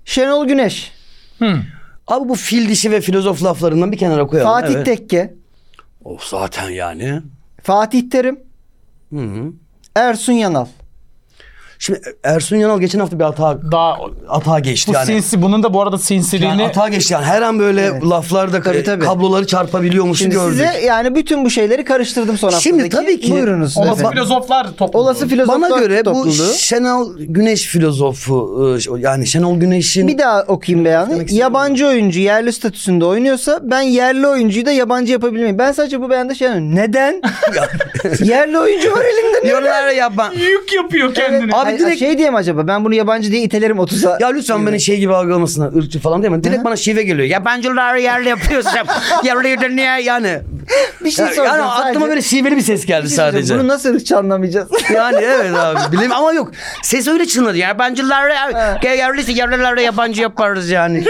B: Şenol Güneş,
C: Hı.
D: abi bu fil dişi ve filozof laflarından bir kenara koyalım.
B: Fatih
D: evet.
B: Tekke,
D: Of zaten yani.
B: Fatih Terim,
D: Hı hı.
B: Ersun Yanal.
D: Şimdi Ersun Yanal geçen hafta bir hata
C: Daha
D: hata geçti
C: bu
D: yani.
C: sinsi bunun da bu arada sinsiliğini
D: yani hata geçti yani her an böyle laflarda
B: Tabii, tabii.
D: kabloları çarpabiliyormuş
B: Şimdi
D: gördük.
B: size yani bütün bu şeyleri karıştırdım son haftadaki.
D: Şimdi tabii ki-
B: Buyurunuz.
C: olası
B: efendim.
C: filozoflar topluluğu.
B: Olası filozoflar
D: Bana göre
B: topluluğu.
D: bu Şenol Güneş filozofu e, yani Şenol Güneş'in
B: Bir daha okuyayım beyanı.
D: Demek istediğim
B: Yabancı oyuncu yerli statüsünde oynuyorsa ben yerli oyuncuyu da yabancı yapabilmeliyim. Ben sadece bu beyanda şey anlıyorum. Neden? yerli oyuncu var elimde. niye?
D: yorumlara yapma.
C: yük yapıyor kendini.
B: Evet.
D: Abi
B: Ay- ay
D: direkt-
B: şey diye mi acaba? Ben bunu yabancı diye itelerim 30'a.
D: Ya lütfen beni şey gibi algılamasınlar ırkçı falan deme. Direkt bana şive geliyor. Yabancılar yerli yapıyorsun. yerli niye yani.
B: bir şey
D: Ya-
B: soracağım.
D: yani aklıma
B: sadece. şey
D: böyle şiveli bir şey ses geldi sadece.
B: Bunu nasıl ırkçı anlamayacağız?
D: Yani evet abi bilmiyorum ama yok. Ses öyle çınladı. Yabancılar
B: Evet.
D: yerlisi yerlilerde yabancı yaparız yani.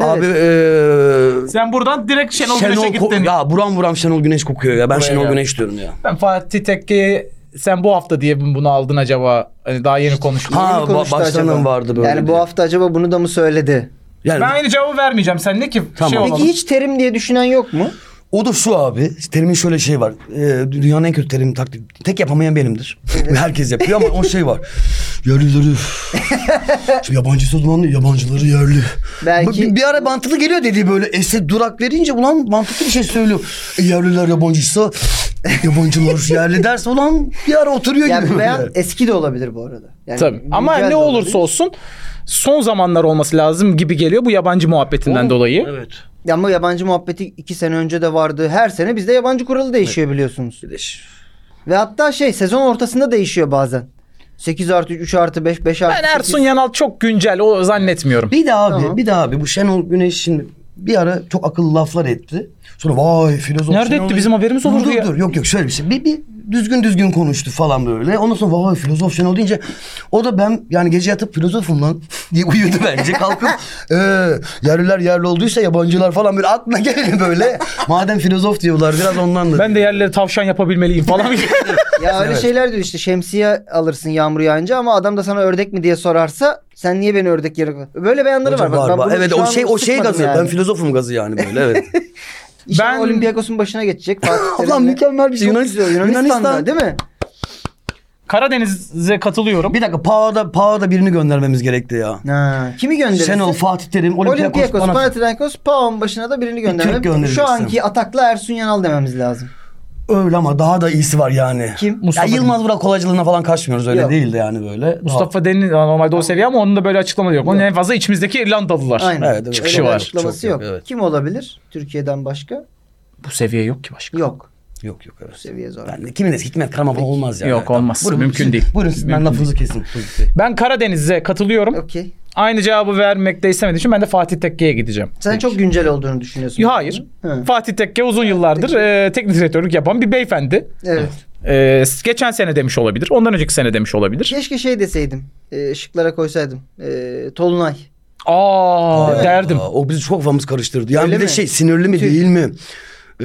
D: Abi e, eee
C: Sen buradan direkt Şenol, Güneş'e
D: Şenol
C: gittin.
D: ko- ya buram buram Şenol Güneş kokuyor ya. Ben Şenol
C: gel.
D: Güneş diyorum ya.
C: Ben Fatih Tekke'yi sen bu hafta diye mi bunu aldın acaba? Hani daha yeni konuştuk.
D: Ha,
B: Yeni konuştu
D: ba- baştan
B: acaba.
D: mı vardı böyle
B: Yani bu
D: diye.
B: hafta acaba bunu da mı söyledi?
D: Yani
C: Ben aynı cevabı vermeyeceğim. Sen ne ki
D: Tamam.
C: şey
D: Peki
B: Peki
C: olalım.
B: hiç terim diye düşünen yok mu?
D: O da şu abi. Terimin şöyle şey var. Ee, dünyanın en kötü terim taktiği. Tek yapamayan benimdir. Herkes yapıyor ama o şey var. Yerlileri. Şimdi yabancısı uzmanlı, yabancıları yerli.
B: Belki-
D: Bir, bir ara mantıklı geliyor dediği böyle. Ese durak verince ulan mantıklı bir şey söylüyor. E, yerliler yabancıysa yabancılar yerli derse ulan bir ara oturuyor
B: Yani
D: gibi.
B: bu beyan
D: böyle.
B: eski de olabilir bu arada. Yani
C: Tabii. Ama
B: güncel de
C: ne olursa
B: olabilir.
C: olsun son zamanlar olması lazım gibi geliyor bu yabancı muhabbetinden dolayı.
D: Evet.
B: Ya Ama yabancı muhabbeti iki sene önce de vardı. Her sene bizde yabancı kuralı değişiyor biliyorsunuz. Ve hatta şey sezon ortasında değişiyor bazen. 8 artı 3, 3 artı 5, 5 artı
C: Ben
B: 8.
C: Ersun Yanal çok güncel o zannetmiyorum.
D: Bir de abi,
B: Tamam.
D: bir de abi bu Şenol Güneş şimdi bir ara çok akıllı laflar etti. Sonra vay filozof.
C: Nerede
D: Şenol
C: etti?
D: Güneş-
C: Bizim haberimiz olurdu
D: dur,
C: ya.
D: Dur, yok yok şöyle bir şey. Bir, bir düzgün düzgün konuştu falan böyle. Ondan sonra vay filozof Şenol deyince o da ben yani gece yatıp filozofum lan diye uyudu bence. Kalkıp eee yerliler yerli olduysa yabancılar falan böyle aklına geleni böyle. Madem filozof diyorlar biraz ondan da.
C: Ben de yerleri tavşan yapabilmeliyim falan.
B: Ya öyle şeyler diyor işte şemsiye alırsın yağmur yağınca ama adam da sana ördek mi diye sorarsa sen niye beni ördek yere koy- Böyle beyanları var.
D: Hocam
B: Bak, ben bunu
D: Evet
B: şu
D: o
B: an
D: şey o şey
B: sıkmadım
D: gazı.
B: yani.
D: Ben filozofum gazı yani böyle evet.
B: İnşallah
C: Ben-
B: Olympiakos'un başına geçecek. Fatih Terim'le.
D: Ulan mükemmel bir şey.
B: Çok
D: Yunan-
B: güzel, Yunanistan'da
D: Yunanistan-
B: değil mi?
C: Karadeniz'e katılıyorum.
D: Bir dakika Pau'da Pau'da birini göndermemiz gerekti ya.
B: Ha, kimi gönderirsin?
D: Şenol, Fatih Terim, Olympiakos,
B: Olympiakos,
D: Panathinaikos.
B: Panathinaikos, PAOK'un başına da birini
D: Türk
B: gönderelim.
D: gönderirsin.
B: Şu anki atakla Ersun Yanal dememiz lazım.
D: Öyle ama daha da iyisi var yani.
B: Kim?
D: Ya
C: Mustafa
D: Yılmaz Burak kolaycılığına falan kaçmıyoruz öyle
B: Yok.
D: değil de yani böyle.
C: Mustafa Denli normalde o seviye ama onun da böyle açıklama yok. Onun en fazla içimizdeki İrlandalılar.
B: Aynen.
D: Evet, evet.
C: Çıkışı
B: Öyle bir
C: var.
B: Açıklaması
D: Çok yok,
B: yok.
D: evet.
B: Kim olabilir Türkiye'den başka?
C: Bu seviye yok ki başka.
B: Yok.
D: Daha- Yok şey yok evet.
B: Seviye zor.
D: Ben de kimin de Hikmet Karaman falan olmaz yani.
C: Yok, olmaz. Mümkün
D: siz-
C: değil.
D: Buyurun siz ben
C: Mümkün
D: lafınızı kesin.
C: Ben Karadeniz'e katılıyorum.
B: Okey.
C: Aynı cevabı vermek de istemediğim için ben de Fatih Tekke'ye gideceğim.
B: Sen çok güncel olduğunu düşünüyorsun.
C: Yo, Hayır.
B: Ha.
C: Fatih Tekke uzun yıllardır e, teknik direktörlük yapan bir beyefendi.
B: Evet.
C: E, geçen sene demiş olabilir. Ondan önceki sene demiş olabilir.
B: Keşke şey deseydim. E, şıklara koysaydım. E, Tolunay.
C: Aa, derdim.
D: Aa, o bizi çok kafamız karıştırdı. Yani
B: Öyle
D: bir de
B: mi?
D: şey sinirli mi
B: Tüh.
D: değil mi? Ee,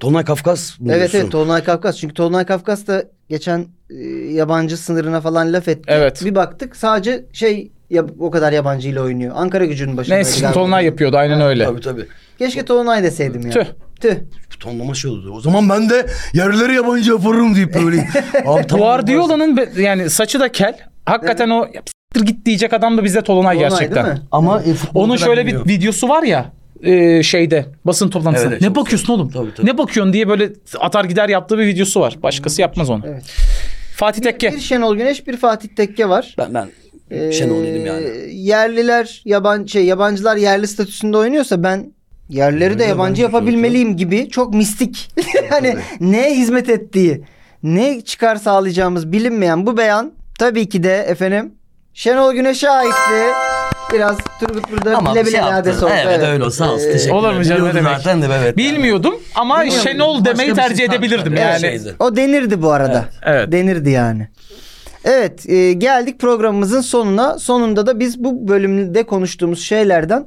D: Tonay Kafkas mı
B: Evet
D: diyorsun?
B: evet Tolunay Kafkas. Çünkü Tolunay Kafkas da geçen e, yabancı sınırına falan laf etti.
C: Evet.
B: Bir baktık sadece şey ya, o kadar yabancıyla oynuyor. Ankara gücünün başında.
C: Neyse Tolunay yapıyordu aynen öyle.
D: Tabii tabii.
B: Keşke Tolunay deseydim ya.
C: Tüh.
B: Tüh.
D: Bu Tonlama şey oldu. O zaman ben de yerleri yabancı yaparım deyip böyle. Abi tamam,
C: Guardiola'nın be- yani saçı da kel. Hakikaten o "Ya siktir git diyecek adam da bize Tolunay,
B: Tolunay
C: gerçekten.
B: değil mi?
D: Ama e, futbol
C: Onun
D: kadar
C: şöyle
D: bilmiyor.
C: bir videosu var ya e, şeyde basın toplantısında.
D: Evet, evet,
C: ne
D: çok
C: bakıyorsun oğlum?
D: Tabii, Hmm. tabii.
C: Ne bakıyorsun diye böyle atar gider yaptığı bir videosu var. Başkası yapmaz onu.
B: Evet.
C: Fatih Tekke.
B: Bir şey Şenol Güneş bir Fatih Tekke var.
D: Ben ben
B: Ee,
D: Şenol dedim yani.
B: Yerliler yabancı şey yabancılar yerli statüsünde oynuyorsa ben yerleri de
D: Yabancı,
B: yabancı
D: yabancı
B: yapabilmeliyim gibi çok mistik. hani neye hizmet ettiği, ne çıkar sağlayacağımız bilinmeyen bu beyan tabii ki de efendim Şenol Güneş'e aitti. Biraz Turgut burada
D: Ama
B: Ee, bile
D: bir
B: bile
D: şey
B: iade
D: yaptın.
B: sordu.
D: Evet, öyle olsa sağ olsun.
B: Ee,
D: Teşekkür
C: Olur mu canım, ne
D: Biliyordun
C: demek.
D: zaten de evet.
C: Bilmiyordum ama
D: Bilmiyorum.
C: Şenol
D: Başka
C: demeyi
D: bir şey
C: tercih
D: tabii,
C: edebilirdim
D: tabii.
C: yani.
D: Şeydi.
B: O denirdi bu arada.
C: Evet.
B: Denirdi yani. Evet e, geldik programımızın sonuna. Sonunda da biz bu bölümde konuştuğumuz şeylerden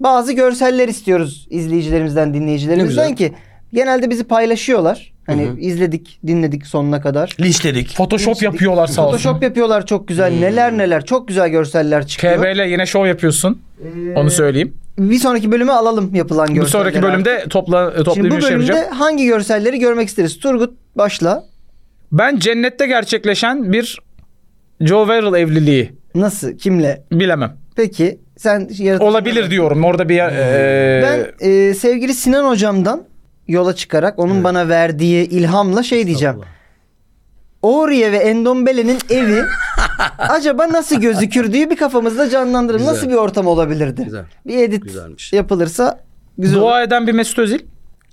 B: bazı görseller istiyoruz izleyicilerimizden, dinleyicilerimizden
D: Ne güzel.
B: ki genelde bizi paylaşıyorlar. Hani izledik, dinledik sonuna kadar.
D: Linçledik.
C: Photoshop yapıyorlar sağ olsun. Hmm.
B: Photoshop yapıyorlar çok güzel. Neler neler çok güzel görseller çıkıyor.
C: KBL yine şov yapıyorsun.
B: Ee,
C: Onu söyleyeyim.
B: Bir sonraki bölüme alalım yapılan görselleri.
C: Bu sonraki bölümde topla
B: Şimdi
C: toplu
B: bu
C: bir şey
B: bölümde
C: yapacağım.
B: hangi görselleri görmek isteriz? Turgut başla.
C: Ben cennette gerçekleşen bir Joe Verrill evliliği
B: Nasıl? Kimle?
C: bilemem.
B: Peki sen yaratıcı-
C: Olabilir diyorum. Orada bir e,
B: Ben
D: Ee,
B: e, sevgili Sinan hocamdan yola çıkarak onun bana verdiği ilhamla şey diyeceğim. Oriye ve Endombele'nin evi acaba nasıl gözükür diye bir kafamızda canlandıralım.
D: Güzel.
B: Nasıl bir ortam olabilirdi?
D: Güzel.
B: Bir edit
D: Güzelmiş.
B: yapılırsa güzel olur.
C: dua eden bir Mesut Özil.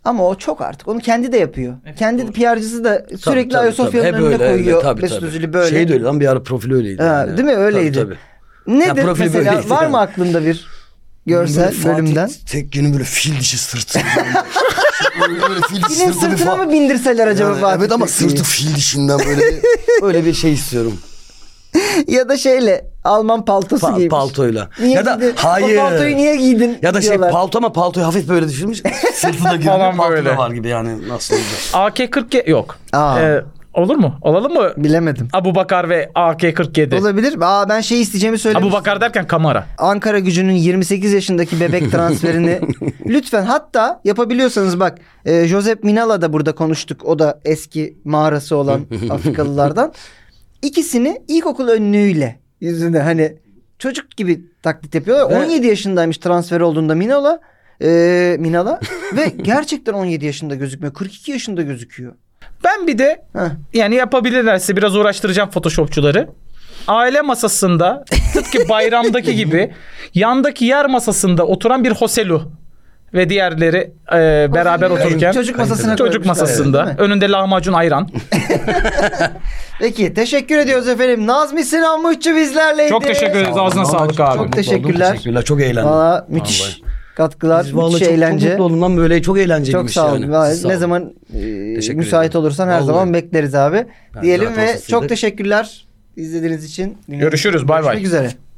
B: Ama o çok artık. Onu kendi de yapıyor. kendi PR'cısı da sürekli
D: tabii,
B: Ayasofya'nın
D: tabii. Hep
B: önüne
D: öyle, öyle.
B: koyuyor.
D: Tabii,
B: Mesut
D: tabii.
B: Özil'i böyle.
D: Şey de öyle lan bir ara profil öyleydi.
B: Ha,
D: yani.
B: değil mi? Öyleydi.
D: Tabii, tabii.
B: Nedir
D: Ya profil
B: mesela?
D: böyleydi.
B: Var mı aklında bir görsel
D: Böyle
B: bölümden?
D: Fatih Tekke'nin böyle fil dişi sırtı. böyle, böyle fil dişi
B: Senin
D: sırtı bir
B: sırtına
D: fa-
B: mı bindirseler acaba
D: Yani
B: Fatih
D: evet ama
B: Tekke'yi?
D: sırtı fil dişinden böyle bir, böyle bir şey istiyorum.
B: ya da şeyle Alman paltosu
D: Pa-
B: giymiş.
D: paltoyla.
B: Niye
D: ya da
B: giydin?
D: hayır.
B: O paltoyu niye giydin?
D: ya da şey
B: diyorlar.
D: palto ama paltoyu hafif böyle düşürmüş. Sırtı da
C: Falan
D: görünüyor. palto
C: böyle.
D: da var gibi yani nasıl olacak.
C: AK-47 yok.
B: Aa.
C: Ee, Olur mu? Olalım mı?
B: Bilemedim.
C: Abu Bakar ve AK-47.
B: Olabilir. Aa ben şey isteyeceğimi söylemiştim.
C: Abu Bakar derken kamera.
B: Ankara gücünün 28 yaşındaki bebek transferini lütfen hatta yapabiliyorsanız bak e, Josep Minala da burada konuştuk. O da eski mağarası olan Afrikalılardan. İkisini ilkokul önlüğüyle yüzünde hani çocuk gibi taklit yapıyorlar.
D: Evet.
B: 17 yaşındaymış transfer olduğunda Minala. e, Minala ve gerçekten 17 yaşında gözükmüyor. 42 yaşında gözüküyor.
C: Ben bir de
B: Heh.
C: yani yapabilirlerse biraz uğraştıracağım photoshopçuları. Aile masasında tıpkı bayramdaki gibi yandaki yer masasında oturan bir Hoselu ve diğerleri e, beraber
B: Çocuk-
C: otururken
B: çocuk masasına
C: çocuk
B: koymuşlar,
C: masasında
B: değil mi?
C: önünde lahmacun ayran.
B: Peki teşekkür ediyoruz efendim. Nazmi Sinan Mıhçı bizlerleydi.
C: Çok teşekkür ederiz. Ağzına sağlık abi.
B: Çok teşekkürler.
D: Teşekkürler. Çok eğlendim.
B: Valla müthiş katkılar,
D: Biz vallahi
B: müthiş
D: çok,
B: eğlence.
D: çok mutlu oldum lan böyle çok eğlenceliymiş
B: Çok sağ olun.
D: yani.
B: Vallahi
D: Siz sağ
B: ne
D: olun.
B: zaman e,
D: Teşekkür
B: müsait
D: ederim.
B: olursan her
D: Vallahi.
B: zaman bekleriz abi.
D: Ben
B: Diyelim
D: zaten
B: ve
D: hastasıydık.
B: çok teşekkürler izlediğiniz için.
C: Görüşürüz, bay bay.
B: Görüşmek üzere.